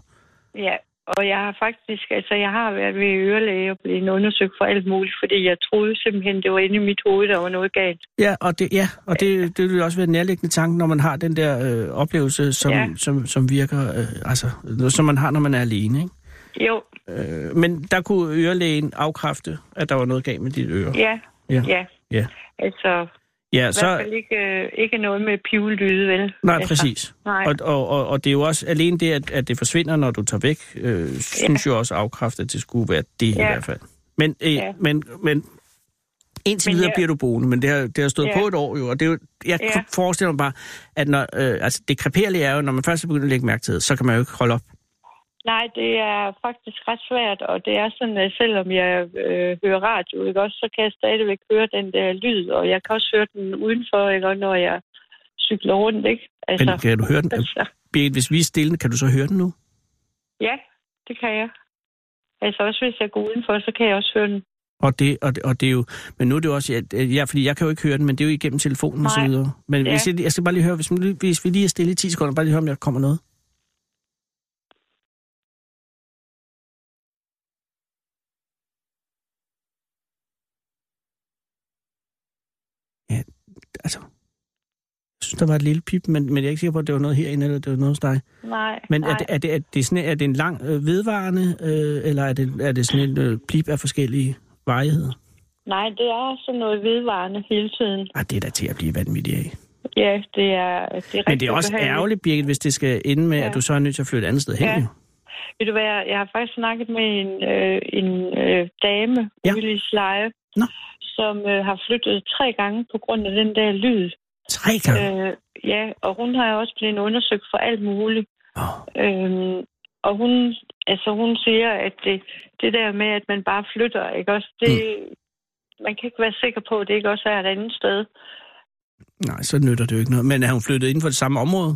Speaker 4: Ja, og jeg har faktisk, altså jeg har været ved ørelæge og blevet undersøgt for alt muligt, fordi jeg troede simpelthen, det var inde i mit hoved, der var noget galt.
Speaker 5: Ja, og det, ja, og det, det vil jo også være en nærliggende tanke, når man har den der øh, oplevelse, som, ja.
Speaker 4: Ja.
Speaker 5: som, som virker, øh, altså, som man har, når man er alene. Ikke?
Speaker 4: Jo,
Speaker 5: Øh, men der kunne ørelægen afkræfte, at der var noget galt med dit øre.
Speaker 4: ja,
Speaker 5: Ja.
Speaker 4: ja. ja.
Speaker 5: Ja.
Speaker 4: Altså, så...
Speaker 5: ja
Speaker 4: i hvert
Speaker 5: så...
Speaker 4: fald ikke, øh, ikke noget med pivelyde, vel?
Speaker 5: Nej,
Speaker 4: altså,
Speaker 5: præcis.
Speaker 4: Nej.
Speaker 5: Og, og, og, og det er jo også alene det, at, at det forsvinder, når du tager væk, øh, synes jo også afkræftet, at det skulle være det ja. i
Speaker 4: Ja.
Speaker 5: hvert fald. Men, øh, ja.
Speaker 4: Ja.
Speaker 5: men, men indtil
Speaker 4: Men
Speaker 5: videre
Speaker 4: jeg-
Speaker 5: bliver du boende, men det har, det har stået
Speaker 4: Ja.
Speaker 5: på et år jo, og det er jo, jeg
Speaker 4: Ja.
Speaker 5: ja. forestiller mig bare, at når, øh, altså det kreperlige er jo, når man først er begyndt at lægge mærke til det, så kan man jo ikke holde op.
Speaker 4: Nej, det er faktisk ret svært, og det er sådan, at selvom jeg øh, hører radio, ikke også, så kan jeg stadigvæk høre den der lyd, og jeg kan også høre den udenfor, ikke, og når jeg cykler rundt, ikke?
Speaker 5: Men kan du høre den?
Speaker 4: altså,
Speaker 5: Birgit, hvis vi er stille, kan du så høre den nu?
Speaker 4: ja, det kan jeg. Altså også hvis jeg går udenfor, så kan jeg også høre den.
Speaker 5: Og det, og, det, og det er jo, men nu er det jo også, at- at jeg, fordi jeg kan jo ikke høre den, men det er jo igennem telefonen og så
Speaker 4: Nej.
Speaker 5: videre. Men
Speaker 4: Ja.
Speaker 5: hvis jeg, jeg skal bare lige høre, hvis, man lige- hvis vi lige er stille i 10 sekunder, bare lige høre, om jeg kommer noget. Ja, altså, jeg synes, der var et lille pip, men, men jeg er ikke sikker på, at det var noget herinde, eller det var noget hos dig.
Speaker 4: Nej,
Speaker 5: Men
Speaker 4: nej.
Speaker 5: er det, er, det, er, det sådan, er det en lang øh, vedvarende, øh, eller er det, er det sådan en øh, plip af forskellige varigheder?
Speaker 4: nej, det er sådan noget vedvarende hele tiden.
Speaker 5: Ah, det er da til at blive vanvittig af.
Speaker 4: Ja, det er, det er rigtig
Speaker 5: Men det er også
Speaker 4: ubehageligt.
Speaker 5: ærgerligt, Birgit, hvis det skal ende med, ja.
Speaker 4: Ja.
Speaker 5: at du så er nødt til at flytte et andet sted hen.
Speaker 4: Ja.
Speaker 5: Ja.
Speaker 4: Ved du hvad, jeg har faktisk snakket med en, øh, en øh, dame
Speaker 5: Ja.
Speaker 4: ja. ude i Sleje,
Speaker 5: Nå.
Speaker 4: som øh, har flyttet tre gange på grund af den der lyd.
Speaker 5: Tre gange.
Speaker 4: Øh, ja, og hun har jo også blevet undersøgt for alt muligt.
Speaker 5: Åh.
Speaker 4: Øhm, og hun, altså hun siger, at det, det der med, at man bare flytter, ikke også, det,
Speaker 5: Mm.
Speaker 4: man kan ikke være sikker på, at det ikke også er et andet sted.
Speaker 5: Nej, så nytter det jo ikke noget. Men er hun flyttet inden for det samme område?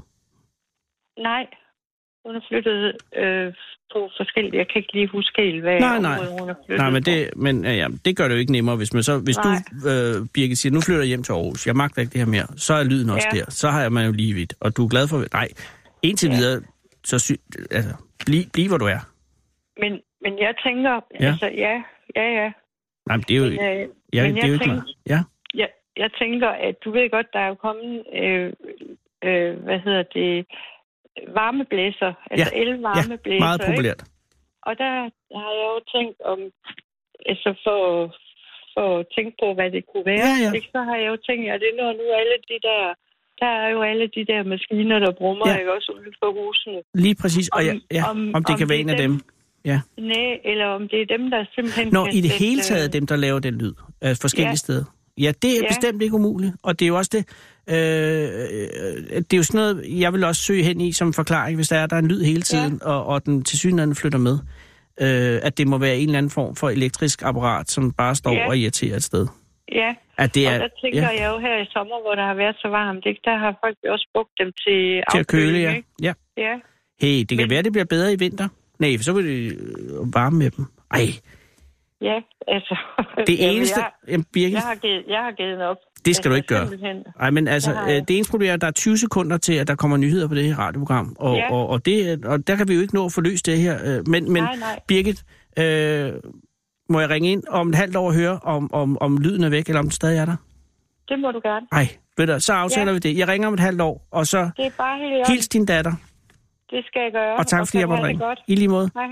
Speaker 4: Nej, hun har flyttet øh, på forskellige, jeg kan ikke lige huske helt, hvad
Speaker 5: Nej, nej.
Speaker 4: område hun har flyttet
Speaker 5: Nej, men
Speaker 4: fra.
Speaker 5: det, men, ja, ja, det gør det jo ikke nemmere, hvis, man så, hvis du, øh, Birgit, siger, nu flytter jeg hjem til Aarhus, jeg magter ikke det her mere, så er lyden også
Speaker 4: Ja.
Speaker 5: der, så har jeg man jo lige vidt, og du er glad for... Nej, indtil ja. videre, så sy, altså, bliv, bliv, hvor du er.
Speaker 4: Men, men jeg tænker,
Speaker 5: Ja.
Speaker 4: ja. altså ja, ja, ja.
Speaker 5: Nej, men det er jo,
Speaker 4: Men,
Speaker 5: jeg,
Speaker 4: øh,
Speaker 5: det
Speaker 4: men
Speaker 5: er jo
Speaker 4: jeg
Speaker 5: ikke
Speaker 4: tænker-
Speaker 5: mig. Ja.
Speaker 4: jeg, jeg tænker, at du ved godt, der er jo kommet, øh, øh, hvad hedder det, varmeblæser, altså ja. elvarmeblæser.
Speaker 5: Meget
Speaker 4: Ikke?
Speaker 5: populært.
Speaker 4: Og der har jeg jo tænkt om, altså for, for at tænke på, hvad det kunne være.
Speaker 5: Ja, ja.
Speaker 4: Ikke? Så har jeg jo tænkt, at det er når nu alle de der, der er jo alle de der maskiner, der brummer,
Speaker 5: Ja.
Speaker 4: ja. ikke også uden for husene.
Speaker 5: Lige præcis, og
Speaker 4: Om-
Speaker 5: ja, ja, om,
Speaker 4: om-
Speaker 5: om det
Speaker 4: om
Speaker 5: kan være
Speaker 4: det
Speaker 5: en
Speaker 4: er
Speaker 5: af dem.
Speaker 4: dem. Næ, eller om det er dem, der simpelthen...
Speaker 5: Nå,
Speaker 4: kan
Speaker 5: i det
Speaker 4: sætte,
Speaker 5: hele taget
Speaker 4: øh,
Speaker 5: dem, der laver den lyd af forskellige ja.
Speaker 4: Ja.
Speaker 5: steder. Ja, det er ja.
Speaker 4: Ja.
Speaker 5: bestemt ikke umuligt, og det er jo også det, øh, øh, det er jo sådan noget, jeg vil også søge hen i som forklaring, hvis der er, der er en lyd hele tiden, ja. og, og den til synligheden flytter med, øh, at det må være en eller anden form for elektrisk apparat, som bare står ja.
Speaker 4: Ja.
Speaker 5: og irriterer et sted.
Speaker 4: Ja,
Speaker 5: At det
Speaker 4: Ja,
Speaker 5: er,
Speaker 4: og der tænker ja. jeg jo her i sommer, hvor der har været så varmt, ikke? der har folk jo også brugt dem til,
Speaker 5: til at køle,
Speaker 4: afkøling,
Speaker 5: ja.
Speaker 4: ikke?
Speaker 5: ja.
Speaker 4: ja.
Speaker 5: Hey, det kan Men...
Speaker 4: Men-
Speaker 5: være, det bliver bedre i vinter. Nej, for så vil det øh, varme med dem. Ej,
Speaker 4: Ja, altså.
Speaker 5: det
Speaker 4: jamen,
Speaker 5: eneste...
Speaker 4: Jeg,
Speaker 5: Jamen, Birgit,
Speaker 4: jeg, har givet, jeg har givet den op. Altså,
Speaker 5: Det skal du ikke gøre.
Speaker 4: Simpelthen.
Speaker 5: Nej, men altså,
Speaker 4: Jeg har-
Speaker 5: øh, det eneste problem er, at der er 20 sekunder til, at der kommer nyheder på det her radioprogram, og,
Speaker 4: Ja.
Speaker 5: og, og, det, øh, og der kan vi jo ikke nå at få løst det her. øh, Men, men
Speaker 4: Nej, nej.
Speaker 5: Birgit, øh, må jeg ringe ind om et halvt år og høre, om, om, om lyden er væk, eller om den stadig er der?
Speaker 4: Det må du gerne.
Speaker 5: Nej, ved du, så aftaler
Speaker 4: Ja.
Speaker 5: vi det. Jeg ringer om et halvt år, og så
Speaker 4: Det er bare helt i orden.
Speaker 5: hils din datter,
Speaker 4: Det skal jeg gøre.
Speaker 5: og tak fordi
Speaker 4: så
Speaker 5: jeg måtte
Speaker 4: have det
Speaker 5: ringe.
Speaker 4: godt.
Speaker 5: I lige måde.